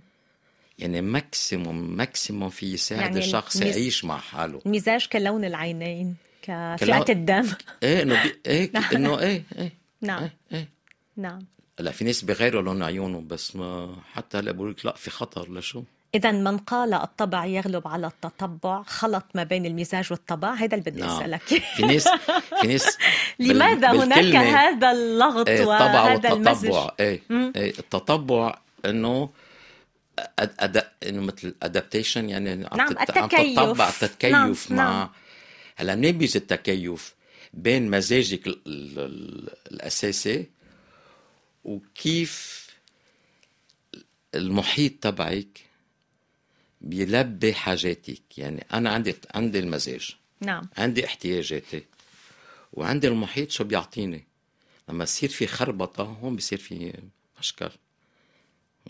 [SPEAKER 3] يعني ماكسيموم ماكسيموم في يساعد
[SPEAKER 2] يعني
[SPEAKER 3] يعني الشخص
[SPEAKER 2] المز-
[SPEAKER 3] يعيش مع حاله
[SPEAKER 2] المزاج كلون العينين كفئة
[SPEAKER 3] كلون- <laughs>
[SPEAKER 2] الدم
[SPEAKER 3] ايه انه بي...
[SPEAKER 2] <laughs>
[SPEAKER 3] ايه انه ايه ايه
[SPEAKER 2] نعم
[SPEAKER 3] ايه ايه
[SPEAKER 2] نعم
[SPEAKER 3] لا في ناس بيغيروا لون عيونهم بس ما حتى هلا بقول لك لا في خطر لشو
[SPEAKER 2] إذا من قال الطبع يغلب على التطبع خلط ما بين المزاج والطبع هذا اللي بدي
[SPEAKER 3] نعم.
[SPEAKER 2] أسألك
[SPEAKER 3] في ناس
[SPEAKER 2] <laughs>
[SPEAKER 3] في ناس بال-
[SPEAKER 2] لماذا هناك
[SPEAKER 3] بالكلمة،
[SPEAKER 2] هذا اللغط
[SPEAKER 3] إيه الطبع
[SPEAKER 2] وهذا المزج
[SPEAKER 3] والتطبع ايه
[SPEAKER 2] مم.
[SPEAKER 3] ايه التطبع انه أد... أد... انه مثل ادابتيشن يعني عم
[SPEAKER 2] نعم،
[SPEAKER 3] تت- عم
[SPEAKER 2] التكيف.
[SPEAKER 3] تتطبع التكيف
[SPEAKER 2] نعم،
[SPEAKER 3] مع
[SPEAKER 2] نعم.
[SPEAKER 3] هلا منين بيجي التكيف؟ بين مزاجك ال... ال... ال... الاساسي وكيف المحيط تبعك بيلبي حاجاتك يعني انا عندي عندي المزاج
[SPEAKER 2] نعم
[SPEAKER 3] عندي احتياجاتي وعندي المحيط شو بيعطيني لما يصير في خربطه هون بصير في مشكل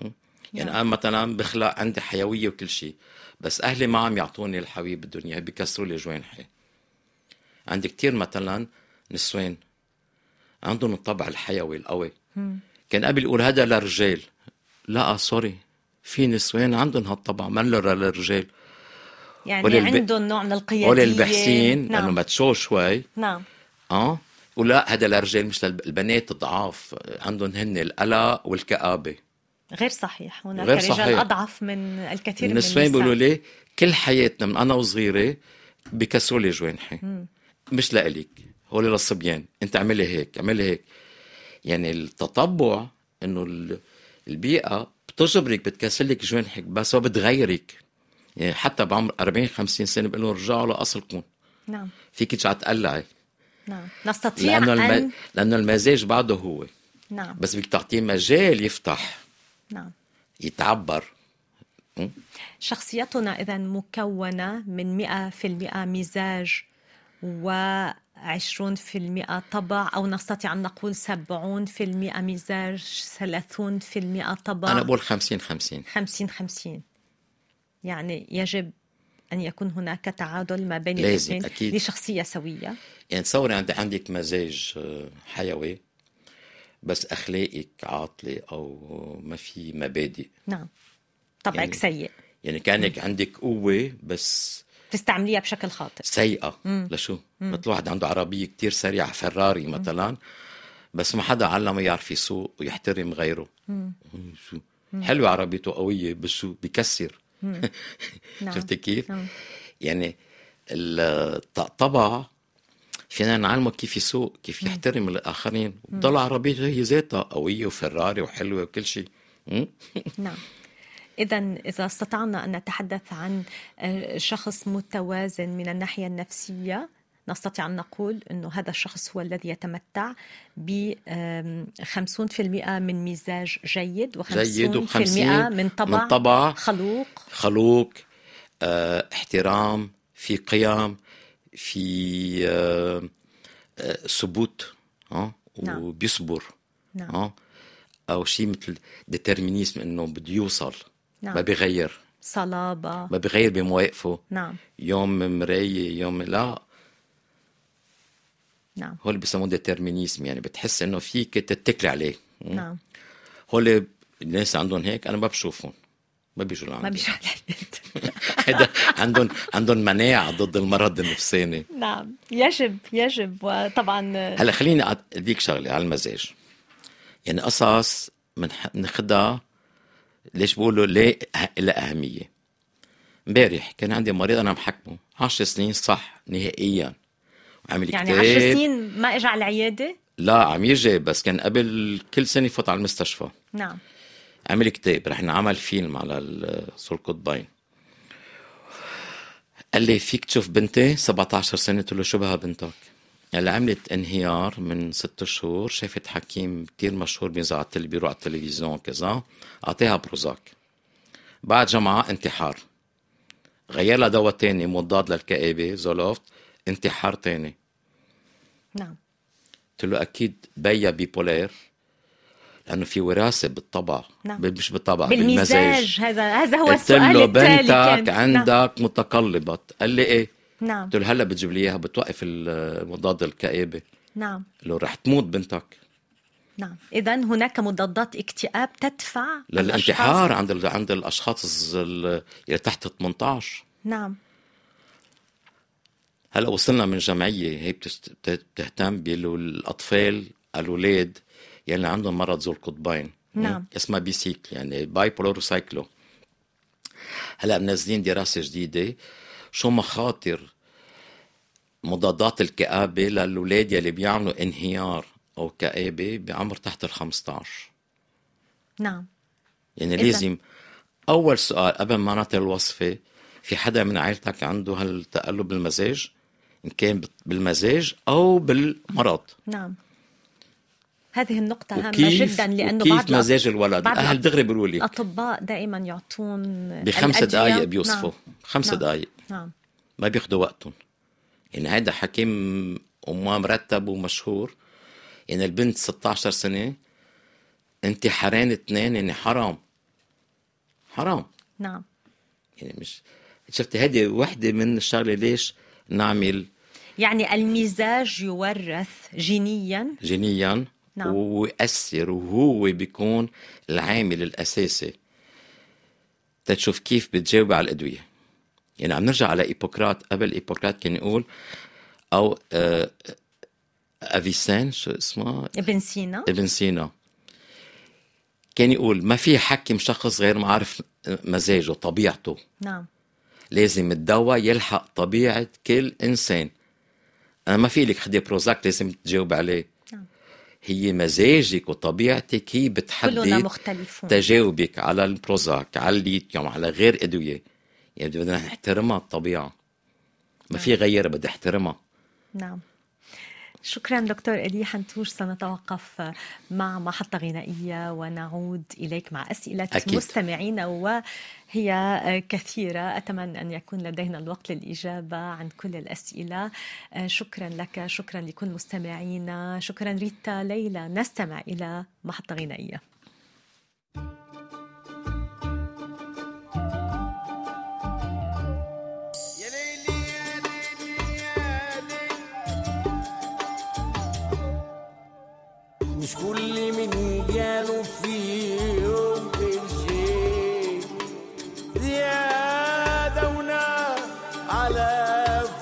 [SPEAKER 3] م? يعني
[SPEAKER 2] نعم.
[SPEAKER 3] انا مثلا بخلق عندي حيويه وكل شيء بس اهلي ما عم يعطوني الحيويه بالدنيا بيكسروا لي جوانحي عندي كتير مثلا نسوان عندهم الطبع الحيوي القوي كان قبل يقول هذا للرجال لا سوري في نسوان عندهم هالطبع ما للرجال
[SPEAKER 2] يعني
[SPEAKER 3] قولي الب-
[SPEAKER 2] عندهم نوع من القيادية
[SPEAKER 3] قول البحسين انه
[SPEAKER 2] نعم
[SPEAKER 3] ما تشو شوي
[SPEAKER 2] نعم
[SPEAKER 3] اه ولا هذا للرجال مش للبنات ضعاف عندهم هن القلق والكآبه
[SPEAKER 2] غير صحيح هناك
[SPEAKER 3] غير
[SPEAKER 2] رجال
[SPEAKER 3] صحيح.
[SPEAKER 2] أضعف من الكثير من النساء
[SPEAKER 3] النسوان بيقولوا لي كل حياتنا من انا وصغيره بكسوا لي جوانحي مش لإلك هو للصبيان انت اعملي هيك اعملي هيك يعني التطبع انه ال- البيئه بتجبرك بتكسلك جوانحك بس ما بتغيرك يعني حتى بعمر 40 50 سنه بقول لهم رجعوا لاصلكم
[SPEAKER 2] نعم
[SPEAKER 3] فيك ترجع تقلعي
[SPEAKER 2] نعم نستطيع
[SPEAKER 3] لانه
[SPEAKER 2] أن
[SPEAKER 3] الم... لانه المزاج بعده هو
[SPEAKER 2] نعم
[SPEAKER 3] بس بدك تعطيه مجال يفتح
[SPEAKER 2] نعم
[SPEAKER 3] يتعبر
[SPEAKER 2] شخصيتنا إذا مكونة من 100% مزاج و20% طبع أو نستطيع أن نقول 70% مزاج 30% طبع
[SPEAKER 3] انا بقول 50 50
[SPEAKER 2] 50 50 يعني يجب أن يكون هناك تعادل ما بين
[SPEAKER 3] لازم،
[SPEAKER 2] الاثنين
[SPEAKER 3] أكيد.
[SPEAKER 2] لشخصية سوية
[SPEAKER 3] يعني تصوري عند عندك مزاج آه، حيوي بس اخلاقك عاطله او ما في مبادئ
[SPEAKER 2] نعم طبعك
[SPEAKER 3] يعني-
[SPEAKER 2] سيء
[SPEAKER 3] يعني كانك عندك قوه بس
[SPEAKER 2] تستعمليها بشكل خاطئ
[SPEAKER 3] سيئه لشو مثل واحد عنده عربيه كتير سريعه فيراري مثلا بس ما حدا علمه يعرف يسوق ويحترم غيره مم، شو حلوه عربيته قويه بس شو بكسر <laughs>
[SPEAKER 2] نعم
[SPEAKER 3] شفتي كيف؟
[SPEAKER 2] نعم.
[SPEAKER 3] يعني الطبع فينا نعلمه كيف يسوق كيف يحترم الاخرين بضل عربيته هي ذاتها قويه وفراري وحلوه وكل شيء م?
[SPEAKER 2] نعم إذا إذا استطعنا أن نتحدث عن آه، شخص متوازن من الناحية النفسية نستطيع أن نقول أنه هذا الشخص هو الذي يتمتع ب آم، 50% من مزاج جيد
[SPEAKER 3] جيد
[SPEAKER 2] و50%
[SPEAKER 3] و50
[SPEAKER 2] من طبع,
[SPEAKER 3] من طبع
[SPEAKER 2] خلوق
[SPEAKER 3] خلوق آه، احترام في قيم في آه، آه، ثبوت اه
[SPEAKER 2] نعم.
[SPEAKER 3] وبيصبر
[SPEAKER 2] نعم.
[SPEAKER 3] اه او شيء مثل ديترمينيزم انه بده يوصل
[SPEAKER 2] نعم.
[SPEAKER 3] ما بيغير
[SPEAKER 2] صلابة
[SPEAKER 3] ما بيغير بمواقفه
[SPEAKER 2] نعم
[SPEAKER 3] يوم مراية يوم لا
[SPEAKER 2] نعم
[SPEAKER 3] هول بسموه ديترمينيزم يعني بتحس انه فيك تتكلي عليه
[SPEAKER 2] نعم
[SPEAKER 3] هول الناس عندهم هيك انا ما بشوفهم ما بيجوا
[SPEAKER 2] ما
[SPEAKER 3] لعندي
[SPEAKER 2] بيجوا على البيت
[SPEAKER 3] <laughs> هيدا عندهم عندهم مناعة ضد المرض النفساني
[SPEAKER 2] نعم يجب يجب وطبعا آه،
[SPEAKER 3] هلا خليني أعط- اديك شغلة على المزاج يعني قصص بناخدها ليش بقولوا ليه ه- لها أهمية امبارح كان عندي مريض أنا محكمه 10 سنين صح نهائيا عامل
[SPEAKER 2] يعني
[SPEAKER 3] كتاب
[SPEAKER 2] 10 سنين ما اجى على العيادة
[SPEAKER 3] لا عم يجي بس كان قبل كل سنة يفوت على المستشفى
[SPEAKER 2] نعم
[SPEAKER 3] عمل كتاب رح نعمل فيلم على ال- سور القطبين قال لي فيك تشوف بنتي 17 سنة قلت له شو بها بنتك اللي عملت انهيار من ست شهور شافت حكيم كتير مشهور بينزل على التل- بيروح على التلفزيون كذا اعطيها بروزاك بعد جمعة انتحار غير لها دواء تاني مضاد للكآبة زولوفت انتحار تاني
[SPEAKER 2] نعم
[SPEAKER 3] قلت له اكيد بيا بيبولير لانه في وراثه بالطبع
[SPEAKER 2] نعم.
[SPEAKER 3] بال- مش بالطبع بالمزاج
[SPEAKER 2] بالمزاج هذا هذا هو
[SPEAKER 3] قلت
[SPEAKER 2] السؤال
[SPEAKER 3] له
[SPEAKER 2] التالي
[SPEAKER 3] بنتك
[SPEAKER 2] كان نعم.
[SPEAKER 3] عندك متقلبه قال لي ايه
[SPEAKER 2] نعم
[SPEAKER 3] قلت له هلا بتجيب لي اياها بتوقف ال- مضاد الكآبه
[SPEAKER 2] نعم
[SPEAKER 3] قال له رح تموت بنتك
[SPEAKER 2] نعم اذا هناك مضادات اكتئاب تدفع
[SPEAKER 3] للانتحار
[SPEAKER 2] الأشخاص-
[SPEAKER 3] عند ال- عند الاشخاص ال- اللي تحت 18
[SPEAKER 2] نعم
[SPEAKER 3] هلا وصلنا من جمعيه هي بتست- بت- بتهتم بالاطفال الاولاد يلي يعني عندهم مرض ذو القطبين
[SPEAKER 2] نعم.
[SPEAKER 3] اسمها بيسيكل يعني باي بولار وسايكلو هلا منزلين دراسه جديده شو مخاطر مضادات الكآبة للأولاد يلي بيعملوا انهيار أو كآبة بعمر تحت ال 15
[SPEAKER 2] نعم
[SPEAKER 3] يعني
[SPEAKER 2] إذا-
[SPEAKER 3] لازم أول سؤال قبل ما نعطي الوصفة في حدا من عائلتك عنده هالتقلب بالمزاج إن كان بت- بالمزاج أو بالمرض
[SPEAKER 2] نعم هذه النقطة هامة
[SPEAKER 3] وكيف
[SPEAKER 2] جدا لأنه
[SPEAKER 3] وكيف
[SPEAKER 2] بعض الأط-
[SPEAKER 3] مزاج الولد
[SPEAKER 2] بعض
[SPEAKER 3] أهل
[SPEAKER 2] الأط-
[SPEAKER 3] دغري بيقولوا لي
[SPEAKER 2] الأطباء دائما يعطون
[SPEAKER 3] بخمس
[SPEAKER 2] الأدوية.
[SPEAKER 3] دقايق بيوصفوا
[SPEAKER 2] نعم.
[SPEAKER 3] خمس
[SPEAKER 2] نعم.
[SPEAKER 3] دقايق
[SPEAKER 2] نعم
[SPEAKER 3] ما بياخدوا وقتهم يعني هيدا حكيم وما مرتب ومشهور يعني البنت 16 سنة انتحارين اثنين يعني حرام حرام
[SPEAKER 2] نعم
[SPEAKER 3] يعني مش شفت هيدي وحدة من الشغلة ليش نعمل
[SPEAKER 2] يعني المزاج يورث جينيا
[SPEAKER 3] جينيا
[SPEAKER 2] نعم.
[SPEAKER 3] ويأثر وهو بيكون العامل الأساسي تتشوف كيف بتجاوب على الأدوية يعني عم نرجع على إيبوكرات قبل إيبوكرات كان يقول أو آه أفيسان شو اسمه
[SPEAKER 2] ابن سينا
[SPEAKER 3] ابن سينا كان يقول ما في حكم شخص غير ما عارف مزاجه طبيعته
[SPEAKER 2] نعم
[SPEAKER 3] لازم الدواء يلحق طبيعة كل إنسان أنا ما في لك خدي بروزاك لازم تجاوب عليه
[SPEAKER 2] نعم.
[SPEAKER 3] هي مزاجك وطبيعتك هي
[SPEAKER 2] كلنا
[SPEAKER 3] بتحدد
[SPEAKER 2] مختلفون
[SPEAKER 3] تجاوبك على البروزاك على الليثيوم على غير أدوية يعني بدنا نحترمها الطبيعة ما في غيرها بدي احترمها
[SPEAKER 2] نعم شكرا دكتور إلي حنتوش سنتوقف مع محطة غنائية ونعود إليك مع أسئلة
[SPEAKER 3] أكيد.
[SPEAKER 2] مستمعينا وهي كثيرة أتمنى أن يكون لدينا الوقت للإجابة عن كل الأسئلة شكرا لك شكرا لكل مستمعينا شكرا ريتا ليلى نستمع إلى محطة غنائية
[SPEAKER 4] يا ليلي يا ليلي يا ليلي مش كل من جاله في يوم قرشين زيادة ونار على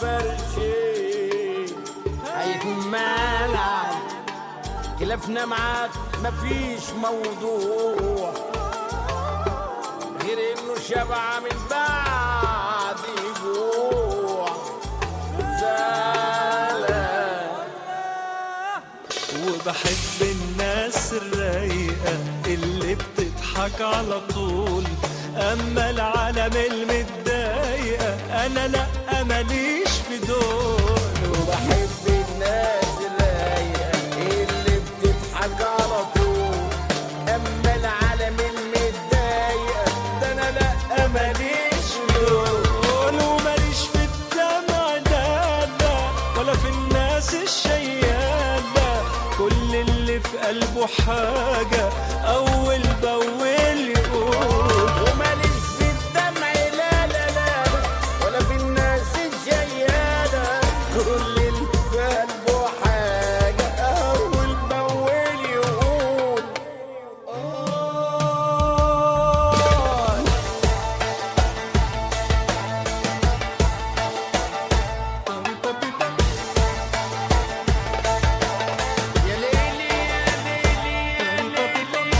[SPEAKER 4] فرشين هيكون مانع خلافنا معاك مفيش موضوع غير انه شبع من بعد جوع زعلان
[SPEAKER 5] وبحب الناس الرايقة اللي بتضحك على طول أما العالم المتضايقة أنا لأ ماليش في دول
[SPEAKER 4] وبحب الناس الرايقة اللي بتضحك على طول أما العالم المتضايقة ده أنا لأ ماليش فلوس
[SPEAKER 5] دول وماليش في الدمع دالة ولا في الناس الشيالة كل اللي في قلبه حاجة أول بأول يقول
[SPEAKER 4] وماليش في الدمع لا لا لا ولا في الناس الجيالة كل اللي في قلبه حاجة أول بأول يقول آه يا ليلي يا ليلي يا ليلي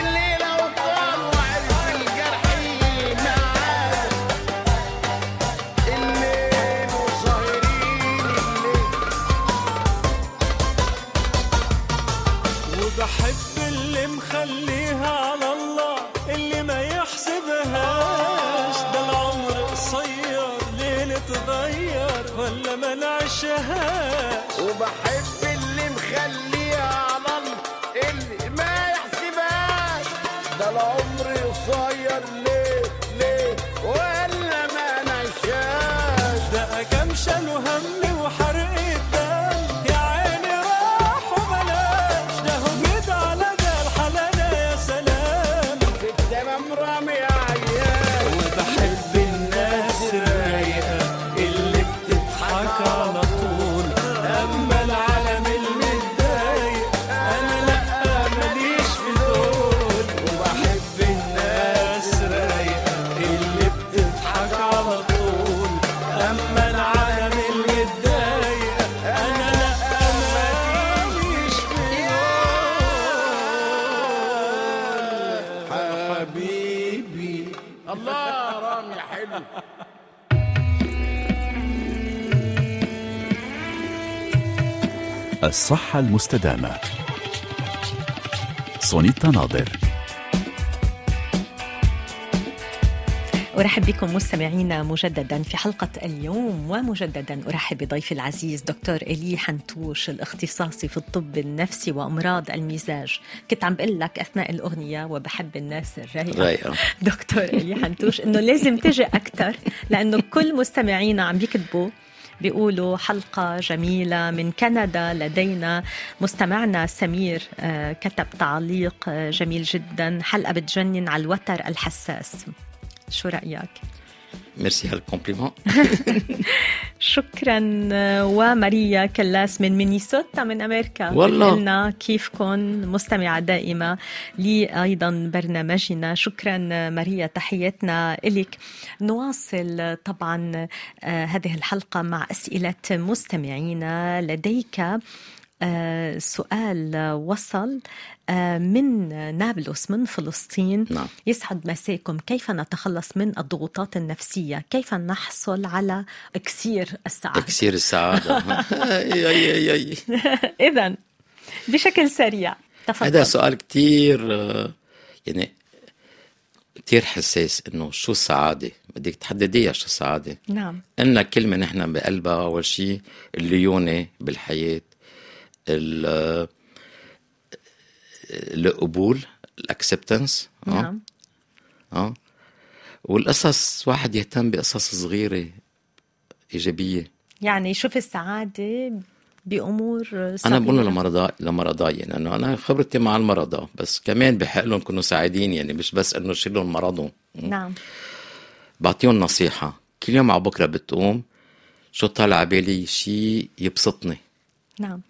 [SPEAKER 4] اللي لو كانوا عرفوا الجرحين معانا الليل وسهرين الليل
[SPEAKER 5] وبحب اللي مخليها على الله اللي ما يحسبهاش ده العمر قصير ليه نتغير ولا ما نعشهاش
[SPEAKER 4] وبحب اللي مخليها على الله اللي ما يحسبهاش ده العمر قصير ليه ليه ولا ما نعشاش
[SPEAKER 5] ده أكمشل وهم وحرق الدم يا عيني راح وبلاش ده هجد على ده الحلال يا سلام
[SPEAKER 4] في الدمام رامي عيال
[SPEAKER 5] وبحب الناس الرايقة اللي بتضحك على طول أما العالم المتضايق أنا لأ ماليش في دول وبحب الناس الرايقة اللي بتضحك على طول أما العالم المتضايق أنا لأ ماليش في
[SPEAKER 4] حبيبي الله رامي حلو
[SPEAKER 1] الصحة المستدامة سونيتا ناظر
[SPEAKER 2] أرحب بكم مستمعينا مجددا في حلقة اليوم ومجددا أرحب بضيفي العزيز دكتور إلي حنتوش الاختصاصي في الطب النفسي وأمراض المزاج كنت عم بقول لك أثناء الأغنية وبحب الناس الرايقة
[SPEAKER 3] رايقه
[SPEAKER 2] دكتور إلي حنتوش إنه لازم تجي أكثر لأنه كل مستمعينا عم بيكتبوا بيقولوا حلقة جميلة من كندا لدينا مستمعنا سمير آه، كتب تعليق آه، جميل جدا حلقة بتجنن على الوتر الحساس شو رأيك؟
[SPEAKER 3] ميرسي هالكومبليمون
[SPEAKER 2] شكرا آه، وماريا كلاس من مينيسوتا من امريكا
[SPEAKER 3] والله.
[SPEAKER 2] لنا كيفكن مستمعه دائمه لي ايضا برنامجنا شكرا آه، ماريا تحياتنا الك نواصل آه، طبعا آه، هذه الحلقه مع اسئله مستمعينا لديك آه، سؤال آه، وصل آه، من نابلس من فلسطين
[SPEAKER 3] نعم
[SPEAKER 2] يسعد مساكم كيف نتخلص من الضغوطات النفسية كيف نحصل على إكسير السعادة
[SPEAKER 3] تكسير السعاده أي- أي- أي- أي.
[SPEAKER 2] إذا بشكل سريع
[SPEAKER 3] هذا
[SPEAKER 2] تفضل
[SPEAKER 3] سؤال كتير آه، يعني كتير حساس انه شو السعاده بدك تحدديها شو السعاده
[SPEAKER 2] نعم
[SPEAKER 3] عندنا كلمة نحن بقلبها أول شيء الليونة بالحياة ال- القبول آه، الأكسبتنس
[SPEAKER 2] نعم
[SPEAKER 3] اه والقصص واحد يهتم بقصص صغيرة إيجابية
[SPEAKER 2] يعني شوف السعادة بأمور
[SPEAKER 3] أنا بقول
[SPEAKER 2] صغيرة.
[SPEAKER 3] لمرضى لمرضاي لأنه أنا خبرتي مع المرضى بس كمان بحق لهم يكونوا سعيدين يعني مش بس إنه يشيلهم مرضهم
[SPEAKER 2] نعم
[SPEAKER 3] بعطيهم نصيحة كل يوم على بكرة بتقوم شو طالع بالي شيء يبسطني
[SPEAKER 2] نعم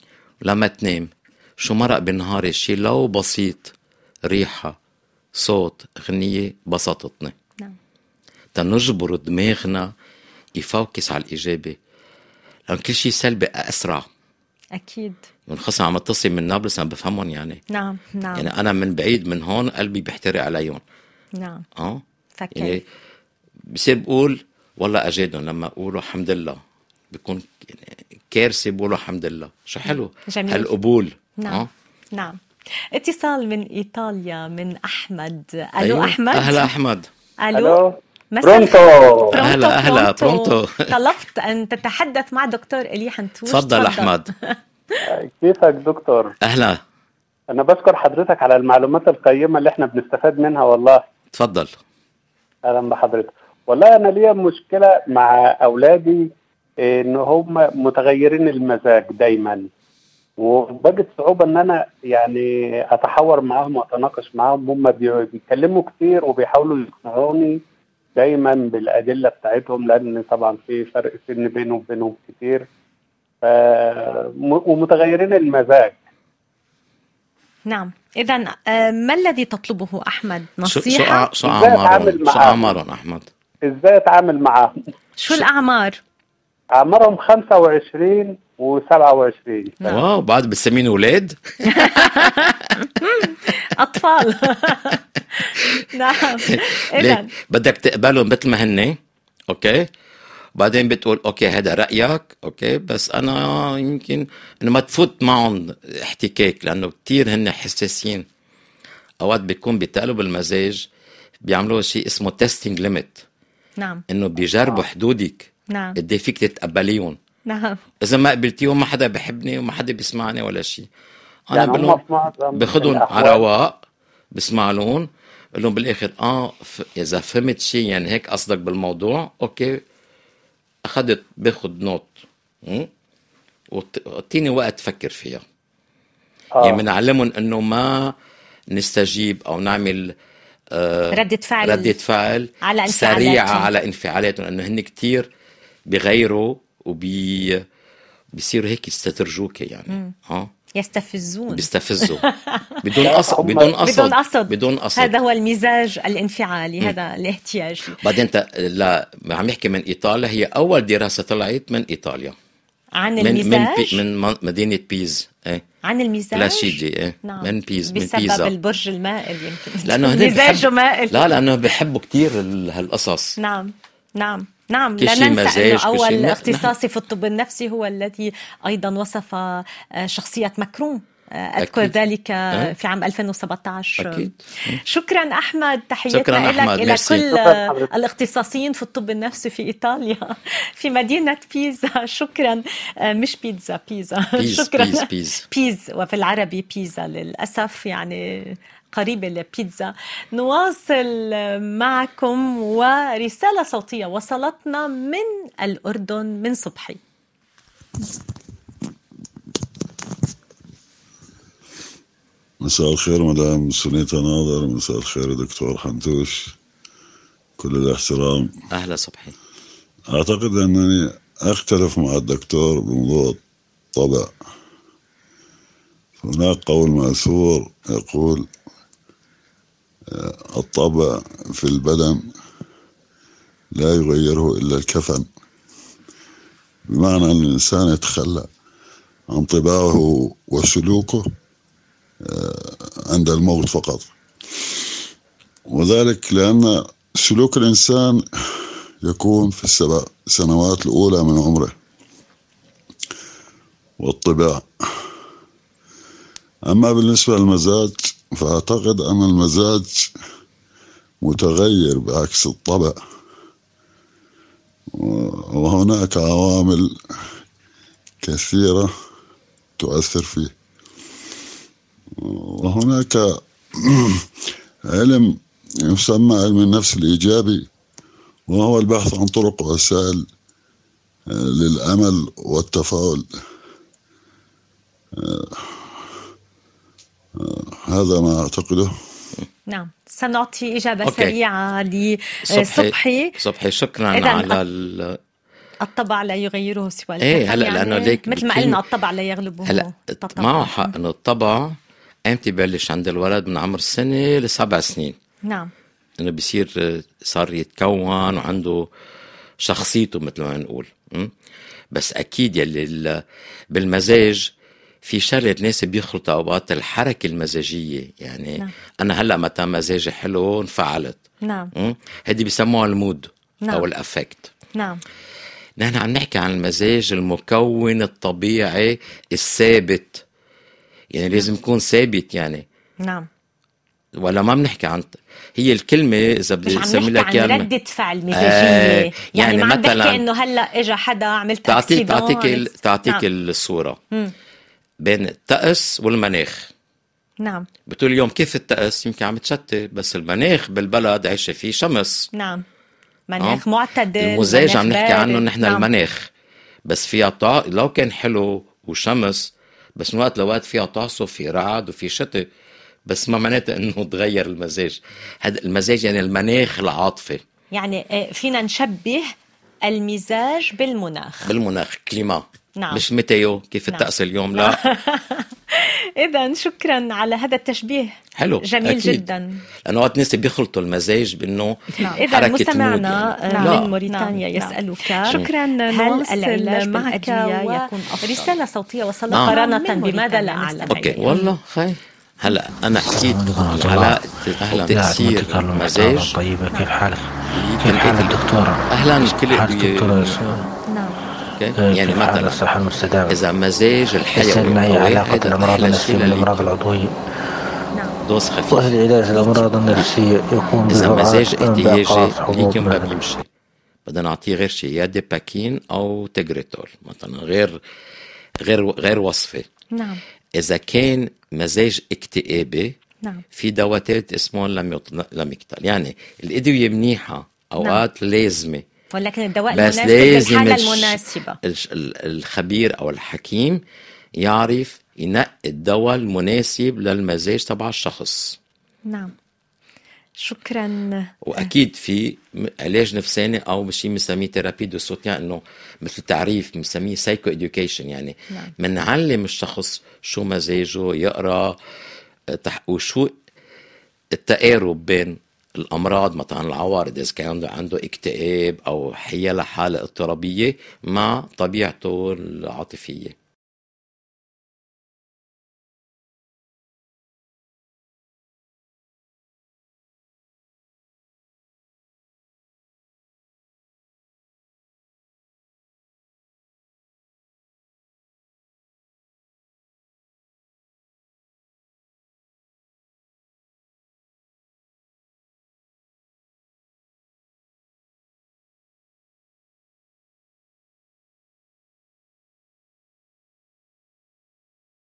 [SPEAKER 3] لما تنام شو مرق بنهاري شي لو بسيط ريحة صوت غنية بسطتني
[SPEAKER 2] نعم
[SPEAKER 3] تنجبر دماغنا يفوكس على الإيجابي لأن كل شي سلبي أسرع
[SPEAKER 2] أكيد
[SPEAKER 3] من خاصة عم اتصل من نابلس عم بفهمهم يعني
[SPEAKER 2] نعم نعم
[SPEAKER 3] يعني أنا من بعيد من هون قلبي بيحترق عليهم
[SPEAKER 2] نعم
[SPEAKER 3] أه يعني
[SPEAKER 2] فكيف
[SPEAKER 3] بصير بقول والله أجادهم لما بقولوا الحمد لله بيكون كارثة بقولوا الحمد لله شو حلو
[SPEAKER 2] جميل.
[SPEAKER 3] هالقبول
[SPEAKER 2] نعم
[SPEAKER 3] أه؟
[SPEAKER 2] نعم اتصال من إيطاليا من أحمد ألو
[SPEAKER 3] أيوة.
[SPEAKER 2] أحمد
[SPEAKER 3] أهلا أحمد
[SPEAKER 2] ألو
[SPEAKER 6] الو
[SPEAKER 2] مساء
[SPEAKER 6] برونتو
[SPEAKER 2] برونتو
[SPEAKER 3] أهلا- أهلا، برونتو.
[SPEAKER 2] طلبت أن تتحدث مع دكتور إلي حنتوش
[SPEAKER 3] تفضل أحمد
[SPEAKER 6] كيفك دكتور
[SPEAKER 3] أهلا
[SPEAKER 6] انا بشكر حضرتك على المعلومات القيمه اللي احنا بنستفاد منها والله
[SPEAKER 3] تفضل
[SPEAKER 6] اهلا بحضرتك والله انا ليا مشكله مع اولادي ان هم متغيرين المزاج دايما وبجد صعوبه ان انا يعني اتحاور معاهم واتناقش معاهم هم بي- بيتكلموا كتير وبيحاولوا يقنعوني دايما بالادله بتاعتهم لان طبعا في فرق سن بيني وبينهم كتير ف... م- ومتغيرين المزاج
[SPEAKER 2] نعم إذا آه، ما الذي تطلبه أحمد
[SPEAKER 3] شو شو
[SPEAKER 2] نصيحة
[SPEAKER 3] أع- شو
[SPEAKER 6] إزاي أتعامل
[SPEAKER 3] أعمارهم شو
[SPEAKER 6] معاهم؟
[SPEAKER 3] أعمارهم أحمد
[SPEAKER 6] ازاي اتعامل معاهم
[SPEAKER 2] شو الأعمار
[SPEAKER 6] اعمارهم 25 و27
[SPEAKER 2] نعم.
[SPEAKER 3] واو بعد بتسمين أولاد
[SPEAKER 2] أطفال
[SPEAKER 3] <laughs>
[SPEAKER 2] <laughs> نعم إذا
[SPEAKER 3] ليه بدك تقبلهم مثل ما هن أوكي بعدين بتقول اوكي هذا رايك اوكي بس انا يمكن انه ما تفوت معهم احتكاك لانه كتير هن حساسين اوقات بيكون بتقلب المزاج بيعملوا شيء اسمه تيستينج ليميت
[SPEAKER 2] نعم
[SPEAKER 3] انه بيجربوا
[SPEAKER 6] آه.
[SPEAKER 3] حدودك
[SPEAKER 2] نعم
[SPEAKER 3] قد إيه فيك تتقبليهم
[SPEAKER 2] نعم
[SPEAKER 3] اذا ما قبلتيهم ما حدا بحبني وما حدا بيسمعني ولا شيء انا
[SPEAKER 6] يعني
[SPEAKER 3] بقول
[SPEAKER 6] هم
[SPEAKER 3] لهم
[SPEAKER 6] في معظم
[SPEAKER 3] باخذهم
[SPEAKER 6] الأحوال
[SPEAKER 3] على رواق بسمع لهم بقول لهم بالاخر اه ف... اذا فهمت شيء يعني هيك قصدك بالموضوع اوكي اخذت باخذ نوت م? وت- وتعطيني وقت تفكر فيها
[SPEAKER 6] آه.
[SPEAKER 3] يعني بنعلمهم انه ما نستجيب او نعمل
[SPEAKER 2] ردة فعل
[SPEAKER 3] آه، ردة فعل
[SPEAKER 2] على
[SPEAKER 3] سريعة
[SPEAKER 2] انفعالاتهم.
[SPEAKER 3] على انفعالاتهم لأنه هن كتير بغيروا وبي بيصيروا هيك يستترجوك يعني اه
[SPEAKER 2] يستفزون <laughs>
[SPEAKER 3] بيستفزوا بدون قصد
[SPEAKER 6] هم-
[SPEAKER 3] بدون قصد
[SPEAKER 2] بدون قصد
[SPEAKER 3] بدون قصد
[SPEAKER 2] هذا هو المزاج الانفعالي هذا الاحتياجي
[SPEAKER 3] بعدين ت... لا عم يحكي من ايطاليا هي اول دراسه طلعت من ايطاليا
[SPEAKER 2] عن
[SPEAKER 3] من من, بي...
[SPEAKER 2] المزاج
[SPEAKER 3] من من- مدينه بيز ايه
[SPEAKER 2] عن المزاج
[SPEAKER 3] بلاشيجي ايه
[SPEAKER 2] نعم
[SPEAKER 3] من بيز من
[SPEAKER 2] بسبب
[SPEAKER 3] بيزا
[SPEAKER 2] البرج المائل يمكن
[SPEAKER 3] لانه هن
[SPEAKER 2] مزاجه
[SPEAKER 3] بحب...
[SPEAKER 2] مائل
[SPEAKER 3] لا لانه بيحبوا كثير ال... هالقصص
[SPEAKER 2] نعم نعم نعم
[SPEAKER 3] كل
[SPEAKER 2] لا
[SPEAKER 3] شيء
[SPEAKER 2] ننسى
[SPEAKER 3] مزاج، نعم.
[SPEAKER 2] انه
[SPEAKER 3] كل شيء-
[SPEAKER 2] اول
[SPEAKER 3] نحن-
[SPEAKER 2] اختصاصي في الطب النفسي هو الذي ايضا وصف آه، شخصيه مكروم اذكر
[SPEAKER 3] أكيد.
[SPEAKER 2] ذلك آه،
[SPEAKER 3] أه.
[SPEAKER 2] في عام 2017
[SPEAKER 3] اكيد
[SPEAKER 2] شكرا احمد
[SPEAKER 3] شكراً
[SPEAKER 2] تحياتنا
[SPEAKER 3] أحمد،
[SPEAKER 2] لك الى
[SPEAKER 3] ميرسي.
[SPEAKER 2] كل
[SPEAKER 6] شكراً حضرتك.
[SPEAKER 2] الاختصاصيين في الطب النفسي في ايطاليا <laughs> في مدينه بيزا <laughs> شكرا آه، مش بيتزا بيزا <laughs>
[SPEAKER 3] بيز
[SPEAKER 2] شكرا
[SPEAKER 3] بيز بيز
[SPEAKER 2] <laughs> بيز وفي العربي بيزا للأسف يعني قريبة لبيتزا نواصل معكم ورسالة صوتية وصلتنا من الأردن من صبحي
[SPEAKER 7] مساء الخير مدام سنية ناظر مساء الخير دكتور حنتوش كل الاحترام
[SPEAKER 3] اهلا صبحي
[SPEAKER 7] أعتقد أنني أختلف مع الدكتور بموضوع الطبع هناك قول مأثور يقول آه، الطبع في البدن لا يغيره إلا الكفن بمعنى أن الإنسان يتخلى عن طباعه وسلوكه آه، عند الموت فقط وذلك لأن سلوك الإنسان يكون في السبع سنوات الأولى من عمره والطباع أما بالنسبة للمزاج فأعتقد أن المزاج متغير بعكس الطبع و- وهناك عوامل كثيرة تؤثر فيه وهناك <clears throat> علم يسمى علم النفس الإيجابي وهو البحث عن طرق ووسائل آه، للأمل والتفاؤل آه، آه، هذا ما أعتقده
[SPEAKER 2] نعم سنعطي إجابة
[SPEAKER 3] أوكي.
[SPEAKER 2] سريعة آه، لصبحي
[SPEAKER 3] صبحي أه، شكرا
[SPEAKER 2] إذن
[SPEAKER 3] على
[SPEAKER 2] أط-
[SPEAKER 3] ال...
[SPEAKER 2] الطبع لا يغيره سوى
[SPEAKER 3] إيه،
[SPEAKER 2] الكفن
[SPEAKER 3] هلأ لأنه ليك
[SPEAKER 2] مثل ما
[SPEAKER 3] بكل-
[SPEAKER 2] قلنا الطبع لا يغلبه
[SPEAKER 3] هلا
[SPEAKER 2] التطبع.
[SPEAKER 3] معه حق انه الطبع امتى ببلش عند الولد من عمر سنه لسبع سنين
[SPEAKER 2] نعم
[SPEAKER 3] انه بصير آه، صار يتكون وعنده شخصيته مثل ما نقول م? بس اكيد يلي ال- بالمزاج في شغله ناس بيخلطوا اوقات الحركه المزاجيه يعني
[SPEAKER 2] نعم.
[SPEAKER 3] نعم. انا هلا متى مزاجي حلو انفعلت
[SPEAKER 2] نعم
[SPEAKER 3] م? هدي بسموها المود
[SPEAKER 2] نعم.
[SPEAKER 3] نعم. او الافكت
[SPEAKER 2] نعم
[SPEAKER 3] نحن عم نحكي عن المزاج المكون الطبيعي الثابت يعني لازم يكون ثابت يعني
[SPEAKER 2] نعم
[SPEAKER 3] ولا ما بنحكي عن هي الكلمه اذا بدي
[SPEAKER 2] مش عم
[SPEAKER 3] اسمي
[SPEAKER 2] نحكي
[SPEAKER 3] لك
[SPEAKER 2] عن
[SPEAKER 3] إياها
[SPEAKER 2] ردة فعل مزاجية
[SPEAKER 3] آه،
[SPEAKER 2] يعني,
[SPEAKER 3] يعني
[SPEAKER 2] ما عم بحكي
[SPEAKER 3] مثلاً-
[SPEAKER 2] انه هلا اجى حدا عملت
[SPEAKER 3] تعطيك
[SPEAKER 2] accident.
[SPEAKER 3] تعطيك ال- تعطيك
[SPEAKER 2] نعم.
[SPEAKER 3] الصوره
[SPEAKER 2] مم.
[SPEAKER 3] بين الطقس والمناخ
[SPEAKER 2] نعم
[SPEAKER 3] بتقول اليوم كيف الطقس يمكن عم تشتي بس المناخ بالبلد عايشه فيه شمس
[SPEAKER 2] نعم مناخ
[SPEAKER 3] آه.
[SPEAKER 2] معتدل
[SPEAKER 3] المزاج
[SPEAKER 2] مناخ
[SPEAKER 3] عم نحكي
[SPEAKER 2] بارد.
[SPEAKER 3] عنه نحن
[SPEAKER 2] نعم.
[SPEAKER 3] المناخ بس فيها طا... لو كان حلو وشمس بس من وقت لوقت فيها تعصف في رعد وفي شتاء بس ما معناتها <laughs> انه تغير المزاج هذا المزاج يعني المناخ العاطفي
[SPEAKER 2] يعني آه، فينا نشبه المزاج بالمناخ
[SPEAKER 3] بالمناخ كليما
[SPEAKER 2] نعم.
[SPEAKER 3] مش ميتيو كيف
[SPEAKER 2] نعم. <laughs>
[SPEAKER 3] الطقس اليوم لا
[SPEAKER 2] اذا شكرا على هذا التشبيه
[SPEAKER 3] حلو
[SPEAKER 2] جميل
[SPEAKER 3] أكيد.
[SPEAKER 2] جدا
[SPEAKER 3] لانه وقت ناس بيخلطوا المزاج بانه
[SPEAKER 2] اذا
[SPEAKER 3] حركة
[SPEAKER 2] نعم. مستمعنا
[SPEAKER 3] مود يعني.
[SPEAKER 2] آه،
[SPEAKER 3] لا.
[SPEAKER 2] من موريتانيا
[SPEAKER 8] نعم، نعم.
[SPEAKER 2] يسالك
[SPEAKER 8] شكراً.
[SPEAKER 2] هل
[SPEAKER 8] نواصل
[SPEAKER 2] العلاج
[SPEAKER 8] معك
[SPEAKER 2] بالادويه يكون
[SPEAKER 8] و-
[SPEAKER 2] افضل رساله صوتيه وصلت
[SPEAKER 3] نعم.
[SPEAKER 2] قرانه
[SPEAKER 8] من
[SPEAKER 2] بماذا
[SPEAKER 8] موريتانيا
[SPEAKER 2] لا اعلم
[SPEAKER 8] نستمع.
[SPEAKER 3] اوكي والله خي هلا انا حكيت
[SPEAKER 9] السلام عليكم ورحمة الله.
[SPEAKER 3] علاقة اهلا بتصير
[SPEAKER 9] دكتور المحترم
[SPEAKER 3] مزاج
[SPEAKER 9] طيبة كيف حالك؟
[SPEAKER 3] هي
[SPEAKER 9] كيف حال
[SPEAKER 3] تنقية ال-
[SPEAKER 9] الدكتورة؟
[SPEAKER 3] اهلا كل
[SPEAKER 9] حال الدكتورة
[SPEAKER 3] أوكي؟
[SPEAKER 9] سو-
[SPEAKER 2] نعم
[SPEAKER 3] يعني
[SPEAKER 9] كيف حال
[SPEAKER 3] مثلا
[SPEAKER 9] الصحة آه، المستدامة؟
[SPEAKER 3] اذا مزاج الحيوي
[SPEAKER 9] استنى هي
[SPEAKER 3] قوي
[SPEAKER 9] علاقة
[SPEAKER 3] هيدا
[SPEAKER 9] الأمراض
[SPEAKER 3] احلى شيء
[SPEAKER 9] النفسية بالأمراض
[SPEAKER 3] للي
[SPEAKER 9] العضوية
[SPEAKER 3] دوس
[SPEAKER 9] وهل
[SPEAKER 3] خفيف
[SPEAKER 9] علاج الأمراض النفسية يكون
[SPEAKER 3] اذا مزاج
[SPEAKER 9] بفعالات انبعاقات،
[SPEAKER 3] احتياجي
[SPEAKER 9] حبوب
[SPEAKER 3] ليك ما بيمشي بدنا نعطيه غير شيء يا ديباكين او تجريتول مثلا غير غير غير وصفه
[SPEAKER 2] نعم
[SPEAKER 3] اذا كان مزاج اكتئابي
[SPEAKER 2] نعم
[SPEAKER 3] في دواء ثالث اسمه لم لميكتال يعني الادويه منيحه اوقات نعم. لازمه
[SPEAKER 2] ولكن الدواء
[SPEAKER 3] بس
[SPEAKER 2] المناسب
[SPEAKER 3] لازم
[SPEAKER 2] للحاله
[SPEAKER 3] الش-
[SPEAKER 2] المناسبه
[SPEAKER 3] الش- ال- الخبير او الحكيم يعرف ينقي الدواء المناسب للمزاج تبع الشخص
[SPEAKER 2] نعم شكرا
[SPEAKER 3] واكيد في م- علاج نفساني او شيء بنسميه ثيرابي دو سوتيان انه مثل تعريف بنسميه سايكو اديوكيشن يعني
[SPEAKER 2] نعم.
[SPEAKER 3] بنعلم الشخص شو مزاجه يقرا آه، تح- وشو التقارب بين الامراض مثلا العوارض اذا كان عنده, عنده اكتئاب او حيله حاله اضطرابيه مع طبيعته العاطفيه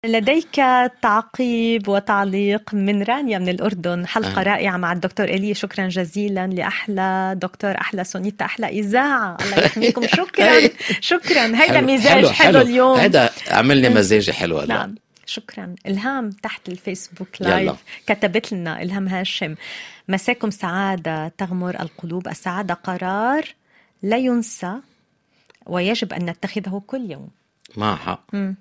[SPEAKER 2] لديك تعقيب وتعليق من رانيا من الأردن حلقة
[SPEAKER 3] أهلا.
[SPEAKER 2] رائعة مع الدكتور إيلي شكرا جزيلا لأحلى دكتور أحلى سونيتا أحلى إذاعة الله
[SPEAKER 3] <laughs>
[SPEAKER 2] يحميكم شكرا شكرا هيدا
[SPEAKER 3] حلو-
[SPEAKER 2] مزاج حلو اليوم
[SPEAKER 3] هيدا عمل لي مزاجي حلو هلا
[SPEAKER 2] نعم شكرا الهام تحت الفيسبوك
[SPEAKER 3] يلا.
[SPEAKER 2] لايف كتبت لنا الهام هاشم مساكم سعاده تغمر القلوب السعاده قرار لا ينسى ويجب ان نتخذه كل يوم
[SPEAKER 3] معها حق
[SPEAKER 2] مم.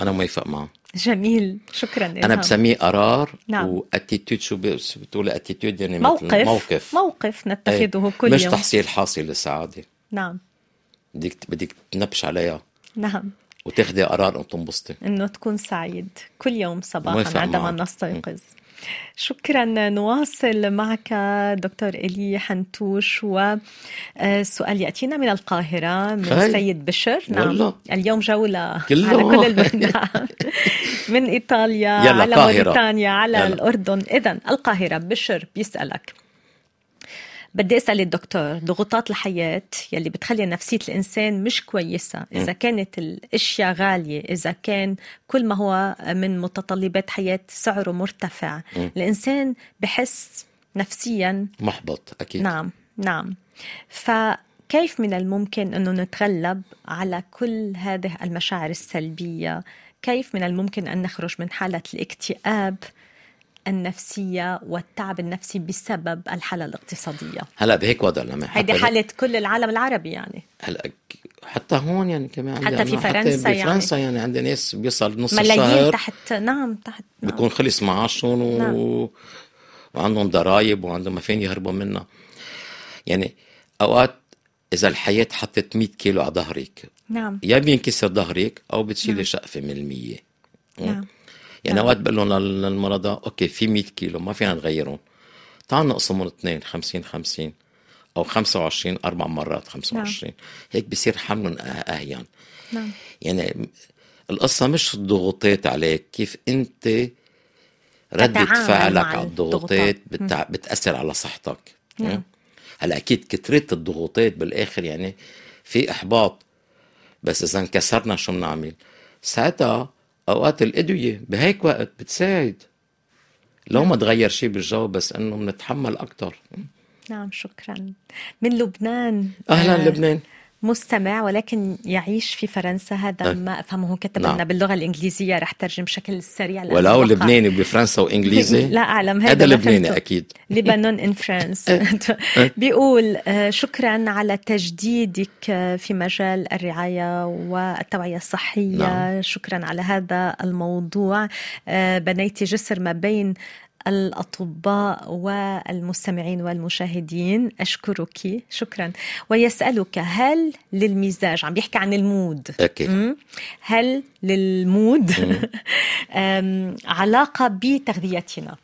[SPEAKER 3] انا موافق معه
[SPEAKER 2] جميل نعم. شكرا إلهام.
[SPEAKER 3] انا بسميه قرار
[SPEAKER 2] إيه، نعم.
[SPEAKER 3] واتيتود شو ب- شو بتقول اتيتود يعني مثل
[SPEAKER 2] موقف
[SPEAKER 3] موقف إيه.
[SPEAKER 2] موقف نتخذه كل
[SPEAKER 3] مش
[SPEAKER 2] يوم
[SPEAKER 3] تحصيل حاصل للسعاده
[SPEAKER 2] نعم
[SPEAKER 3] بدك بدك تنبش عليها
[SPEAKER 2] نعم
[SPEAKER 3] وتاخدي قرار وتنبسطي
[SPEAKER 2] انه تكون سعيد كل يوم
[SPEAKER 3] موافق نعم.
[SPEAKER 2] صباحا عندما
[SPEAKER 3] معك.
[SPEAKER 2] نستيقظ شكرا نواصل معك دكتور إلي حنتوش والسؤال يأتينا من القاهرة من
[SPEAKER 3] خير.
[SPEAKER 2] السيد بشر نعم.
[SPEAKER 3] والله.
[SPEAKER 2] اليوم جولة
[SPEAKER 3] كله.
[SPEAKER 2] على كل
[SPEAKER 3] <laughs>
[SPEAKER 2] المنطقة من إيطاليا
[SPEAKER 3] يلا
[SPEAKER 2] على
[SPEAKER 3] القاهرة.
[SPEAKER 2] موريتانيا على
[SPEAKER 3] يلا.
[SPEAKER 2] الأردن إذا القاهرة بشر بيسألك بدي اسال الدكتور ضغوطات الحياه يلي بتخلي نفسيه الانسان مش كويسه اذا كانت الاشياء غاليه اذا كان كل ما هو من متطلبات حياه سعره مرتفع الانسان بحس نفسيا
[SPEAKER 3] محبط اكيد
[SPEAKER 2] نعم نعم فكيف من الممكن انه نتغلب على كل هذه المشاعر السلبيه كيف من الممكن ان نخرج من حاله الاكتئاب النفسيه والتعب النفسي بسبب الحاله الاقتصاديه
[SPEAKER 3] هلا بهيك وضع لما حتى
[SPEAKER 2] هيدي
[SPEAKER 3] بهيك-
[SPEAKER 2] حالة كل العالم العربي يعني
[SPEAKER 3] هلا حتى هون يعني كمان عندي
[SPEAKER 2] حتى في
[SPEAKER 3] أنا-
[SPEAKER 2] فرنسا يعني.
[SPEAKER 3] حتى بفرنسا يعني. عندي ناس بيصل نص
[SPEAKER 2] ملايين
[SPEAKER 3] الشهر
[SPEAKER 2] تحت نعم تحت نعم.
[SPEAKER 3] بيكون خلص معاشهم و...
[SPEAKER 2] نعم.
[SPEAKER 3] وعندهم ضرايب وعندهم ما فين يهربوا منها يعني اوقات اذا الحياه حطت 100 كيلو على ظهرك
[SPEAKER 2] نعم
[SPEAKER 3] يا بينكسر ظهرك او بتشيلي شقفه من المية
[SPEAKER 2] نعم
[SPEAKER 3] يعني
[SPEAKER 2] نعم.
[SPEAKER 3] اوقات بقول لهم لل- للمرضى اوكي في 100 كيلو ما فينا نغيرهم تعال نقسمهم اثنين 50 50 او 25 اربع مرات 25 هيك بصير حملهم أه- اهين
[SPEAKER 2] نعم
[SPEAKER 3] يعني القصة مش الضغوطات عليك كيف أنت ردة
[SPEAKER 2] تتعامل
[SPEAKER 3] فعلك
[SPEAKER 2] مع
[SPEAKER 3] على
[SPEAKER 2] الضغوطات.
[SPEAKER 3] الضغوطات بتع... بتأثر على صحتك إيه؟
[SPEAKER 2] نعم.
[SPEAKER 3] هلا أكيد كترة الضغوطات بالآخر يعني في إحباط بس إذا انكسرنا شو بنعمل ساعتها أوقات الأدوية بهيك وقت بتساعد لو ما تغير شيء بالجو بس انه بنتحمل إيه؟ اكثر
[SPEAKER 2] نعم شكرا من لبنان
[SPEAKER 3] اهلا
[SPEAKER 2] آه،
[SPEAKER 3] لبنان
[SPEAKER 2] مستمع ولكن يعيش في فرنسا هذا
[SPEAKER 3] نعم.
[SPEAKER 2] ما افهمه كتب
[SPEAKER 3] نعم.
[SPEAKER 2] لنا باللغه الانجليزيه رح ترجم بشكل سريع لأنه
[SPEAKER 3] ولو
[SPEAKER 2] وقع.
[SPEAKER 3] لبناني بفرنسا وانجليزي
[SPEAKER 2] <laughs> لا اعلم هذا
[SPEAKER 3] هذا
[SPEAKER 2] ما
[SPEAKER 3] لبناني
[SPEAKER 2] فهمته.
[SPEAKER 3] اكيد
[SPEAKER 2] لبنان ان فرانس <laughs> بيقول آه، شكرا على تجديدك آه، في مجال الرعايه والتوعيه الصحيه
[SPEAKER 3] نعم.
[SPEAKER 2] شكرا على هذا الموضوع آه، بنيتي جسر ما بين الأطباء والمستمعين والمشاهدين أشكرك شكرا ويسألك هل للمزاج عم بيحكي عن المود
[SPEAKER 3] أكيد.
[SPEAKER 2] مم. هل للمود <laughs> أم، علاقة بتغذيتنا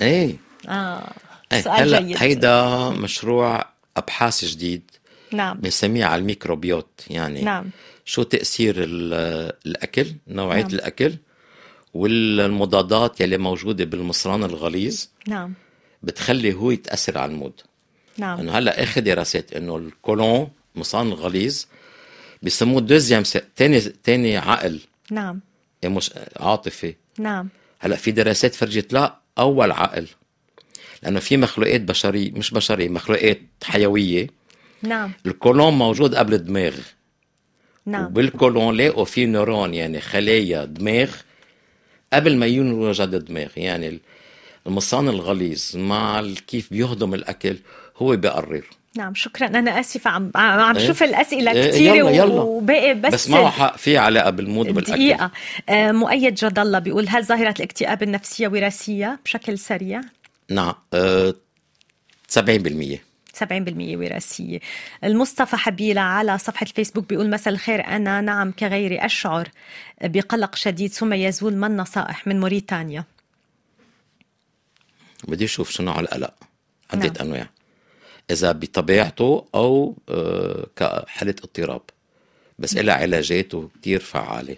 [SPEAKER 3] ايه
[SPEAKER 2] آه
[SPEAKER 3] إيه،
[SPEAKER 2] سؤال
[SPEAKER 3] هلا
[SPEAKER 2] جيد
[SPEAKER 3] هيدا مشروع ابحاث جديد
[SPEAKER 2] نعم
[SPEAKER 3] بنسميه على الميكروبيوت يعني
[SPEAKER 2] نعم
[SPEAKER 3] شو تاثير ال- الاكل نوعيه
[SPEAKER 2] نعم.
[SPEAKER 3] نعم. الاكل والمضادات يلي موجوده بالمصران الغليظ
[SPEAKER 2] نعم
[SPEAKER 3] بتخلي هو يتاثر على المود إيه
[SPEAKER 2] نعم
[SPEAKER 3] انه هلا اخر دراسات انه الكولون مصران الغليظ بسموه دوزيام ثاني ثاني عقل
[SPEAKER 2] نعم
[SPEAKER 3] يعني مش عاطفي
[SPEAKER 2] نعم
[SPEAKER 3] هلا في دراسات فرجت لا اول عقل لانه في مخلوقات بشريه مش بشريه مخلوقات حيويه
[SPEAKER 2] نعم
[SPEAKER 3] الكولون موجود قبل الدماغ
[SPEAKER 2] نعم
[SPEAKER 3] وبالكولون لاقوا في نورون يعني خلايا دماغ قبل ما ينوجد الدماغ يعني ال- المصان الغليظ مع ال- كيف بيهضم الاكل هو بيقرر
[SPEAKER 2] نعم شكرا أنا آسفة عم عم عم
[SPEAKER 3] إيه.
[SPEAKER 2] شوف الأسئلة
[SPEAKER 3] إيه،
[SPEAKER 2] كثيرة
[SPEAKER 3] يلا، يلا.
[SPEAKER 2] وباقي بس
[SPEAKER 3] بس, بس معه حق في علاقه بالمود وبالاكل
[SPEAKER 2] دقيقة آه، مؤيد جد الله بيقول هل ظاهرة الاكتئاب النفسية وراثية بشكل سريع؟
[SPEAKER 3] نعم أه 70%
[SPEAKER 2] 70% وراثية المصطفى حبيلة على صفحة الفيسبوك بيقول مساء الخير أنا نعم كغيري أشعر بقلق شديد ثم يزول ما النصائح من موريتانيا
[SPEAKER 3] بدي اشوف شو نوع القلق عدة نعم. انواع اذا بطبيعته او آه، كحاله اضطراب بس لها علاجات وكثير فعاله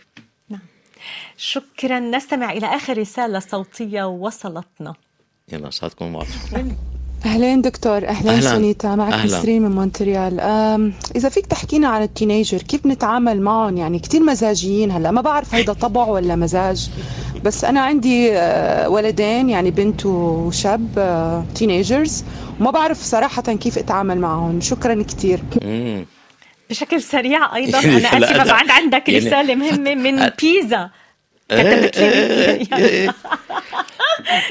[SPEAKER 2] شكرا نستمع إلى آخر رسالة صوتية وصلتنا <laughs>
[SPEAKER 3] يلا صار تكون واضحه
[SPEAKER 8] أهلين دكتور أهلين
[SPEAKER 3] أهلاً.
[SPEAKER 8] سونيتا معك
[SPEAKER 3] أهلاً.
[SPEAKER 8] نسرين من مونتريال أم إذا فيك تحكينا عن التينيجر كيف نتعامل معهم يعني كتير مزاجيين هلا ما بعرف هيدا طبع ولا مزاج بس أنا عندي آه، ولدين يعني بنت وشاب آه، تينيجرز وما بعرف صراحة كيف أتعامل معهم شكرا كتير
[SPEAKER 3] مم.
[SPEAKER 2] بشكل سريع ايضا
[SPEAKER 3] يعني
[SPEAKER 2] انا
[SPEAKER 3] لا،
[SPEAKER 2] اسفه
[SPEAKER 3] لا.
[SPEAKER 2] بعد عندك
[SPEAKER 3] يعني-
[SPEAKER 2] رساله مهمه من بيزا كتبت
[SPEAKER 3] إيه،
[SPEAKER 2] لي
[SPEAKER 3] إيه، <laughs>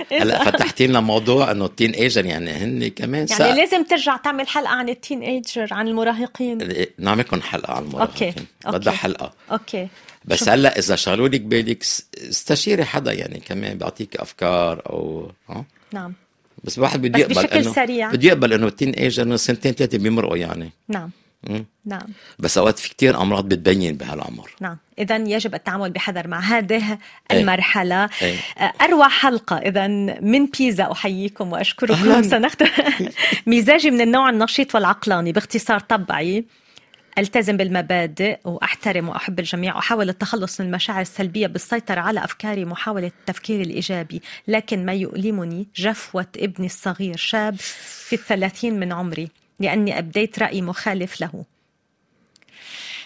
[SPEAKER 3] إيه. هلا
[SPEAKER 2] إذا-
[SPEAKER 3] فتحتي لنا موضوع انه التين ايجر يعني هن كمان
[SPEAKER 2] يعني
[SPEAKER 3] سا-
[SPEAKER 2] لازم ترجع تعمل حلقه عن التين ايجر عن المراهقين
[SPEAKER 3] نعملكم حلقه نعم، على المراهقين
[SPEAKER 2] أوكي، أوكي.
[SPEAKER 3] بدها حلقه
[SPEAKER 2] اوكي
[SPEAKER 3] بس
[SPEAKER 2] شو-
[SPEAKER 3] هلا اذا شغلوا لك بالك س- استشيري حدا يعني كمان بيعطيك افكار او ها
[SPEAKER 2] نعم
[SPEAKER 3] بس الواحد بده
[SPEAKER 2] بس
[SPEAKER 3] يقبل
[SPEAKER 2] بشكل
[SPEAKER 3] إنه-
[SPEAKER 2] سريع.
[SPEAKER 3] بده يقبل انه التين ايجر إنه سنتين ثلاثه بيمرقوا يعني
[SPEAKER 2] نعم
[SPEAKER 3] مم.
[SPEAKER 2] نعم
[SPEAKER 3] بس اوقات في كتير امراض بتبين بهالعمر
[SPEAKER 2] نعم إذا يجب التعامل بحذر مع هذه المرحلة
[SPEAKER 3] إيه.
[SPEAKER 2] آه، أروع حلقة إذا من بيزا أحييكم
[SPEAKER 3] أهلاً.
[SPEAKER 2] وأشكركم سنختم مزاجي من النوع النشيط والعقلاني باختصار طبعي التزم بالمبادئ واحترم واحب الجميع واحاول التخلص من المشاعر السلبيه بالسيطره على افكاري محاوله التفكير الايجابي لكن ما يؤلمني جفوه ابني الصغير شاب في الثلاثين من عمري لاني ابديت راي مخالف له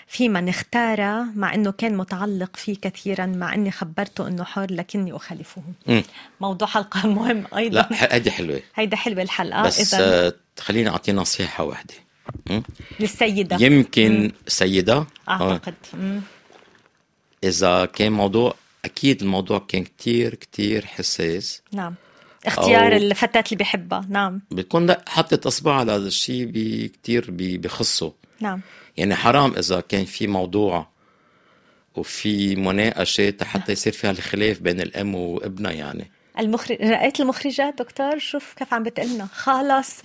[SPEAKER 2] في من اختار مع انه كان متعلق فيه كثيرا مع اني خبرته انه حر لكني اخالفه
[SPEAKER 3] مم.
[SPEAKER 2] موضوع حلقه <laughs> مهم ايضا
[SPEAKER 3] لا ح- هيدي حلوه
[SPEAKER 2] هيدا حلوه الحلقه
[SPEAKER 3] بس
[SPEAKER 2] اذا
[SPEAKER 3] آه، خليني اعطي نصيحه واحده
[SPEAKER 2] للسيده
[SPEAKER 3] يمكن سيده آه،
[SPEAKER 2] اعتقد مم.
[SPEAKER 3] اذا كان موضوع اكيد الموضوع كان كتير كتير حساس
[SPEAKER 2] نعم اختيار
[SPEAKER 3] أو-
[SPEAKER 2] الفتاة اللي بحبها نعم
[SPEAKER 3] بتكون لا- حطت اصبعها على هذا الشيء بي- كتير بي- بخصه
[SPEAKER 2] نعم
[SPEAKER 3] يعني حرام اذا كان في موضوع وفي مناقشه حتى يصير فيها الخلاف بين الام وابنها يعني
[SPEAKER 2] المخرج رأيت المخرجات دكتور شوف كيف عم بتقلنا خلص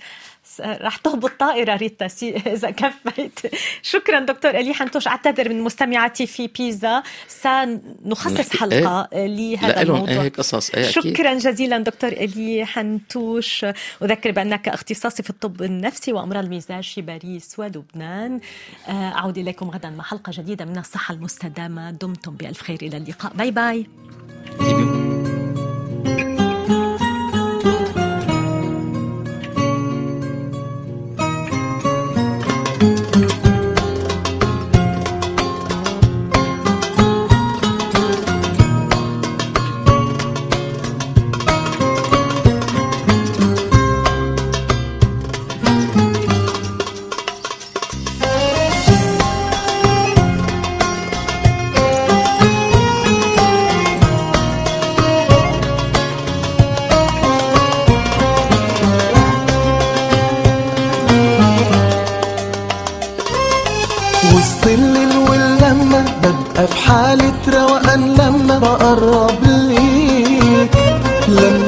[SPEAKER 2] س- رح تهبط طائرة ريتا سي- <laughs> إذا كفيت شكرا دكتور ألي حنتوش أعتذر من مستمعاتي في بيزا سنخصص
[SPEAKER 3] نحكي-
[SPEAKER 2] حلقة لهذا
[SPEAKER 3] لا لهم
[SPEAKER 2] الموضوع
[SPEAKER 3] ايه قصص ايه اكيد
[SPEAKER 2] شكرا جزيلا دكتور إلي حنتوش أذكر بأنك اختصاصي في الطب النفسي وأمراض المزاج في باريس ولبنان آه، أعود إليكم غدا مع حلقة جديدة من الصحة المستدامة دمتم بألف خير إلى اللقاء باي باي
[SPEAKER 5] وسط الليل واللمة ببقى في حالة روقان لما بقرب ليك لما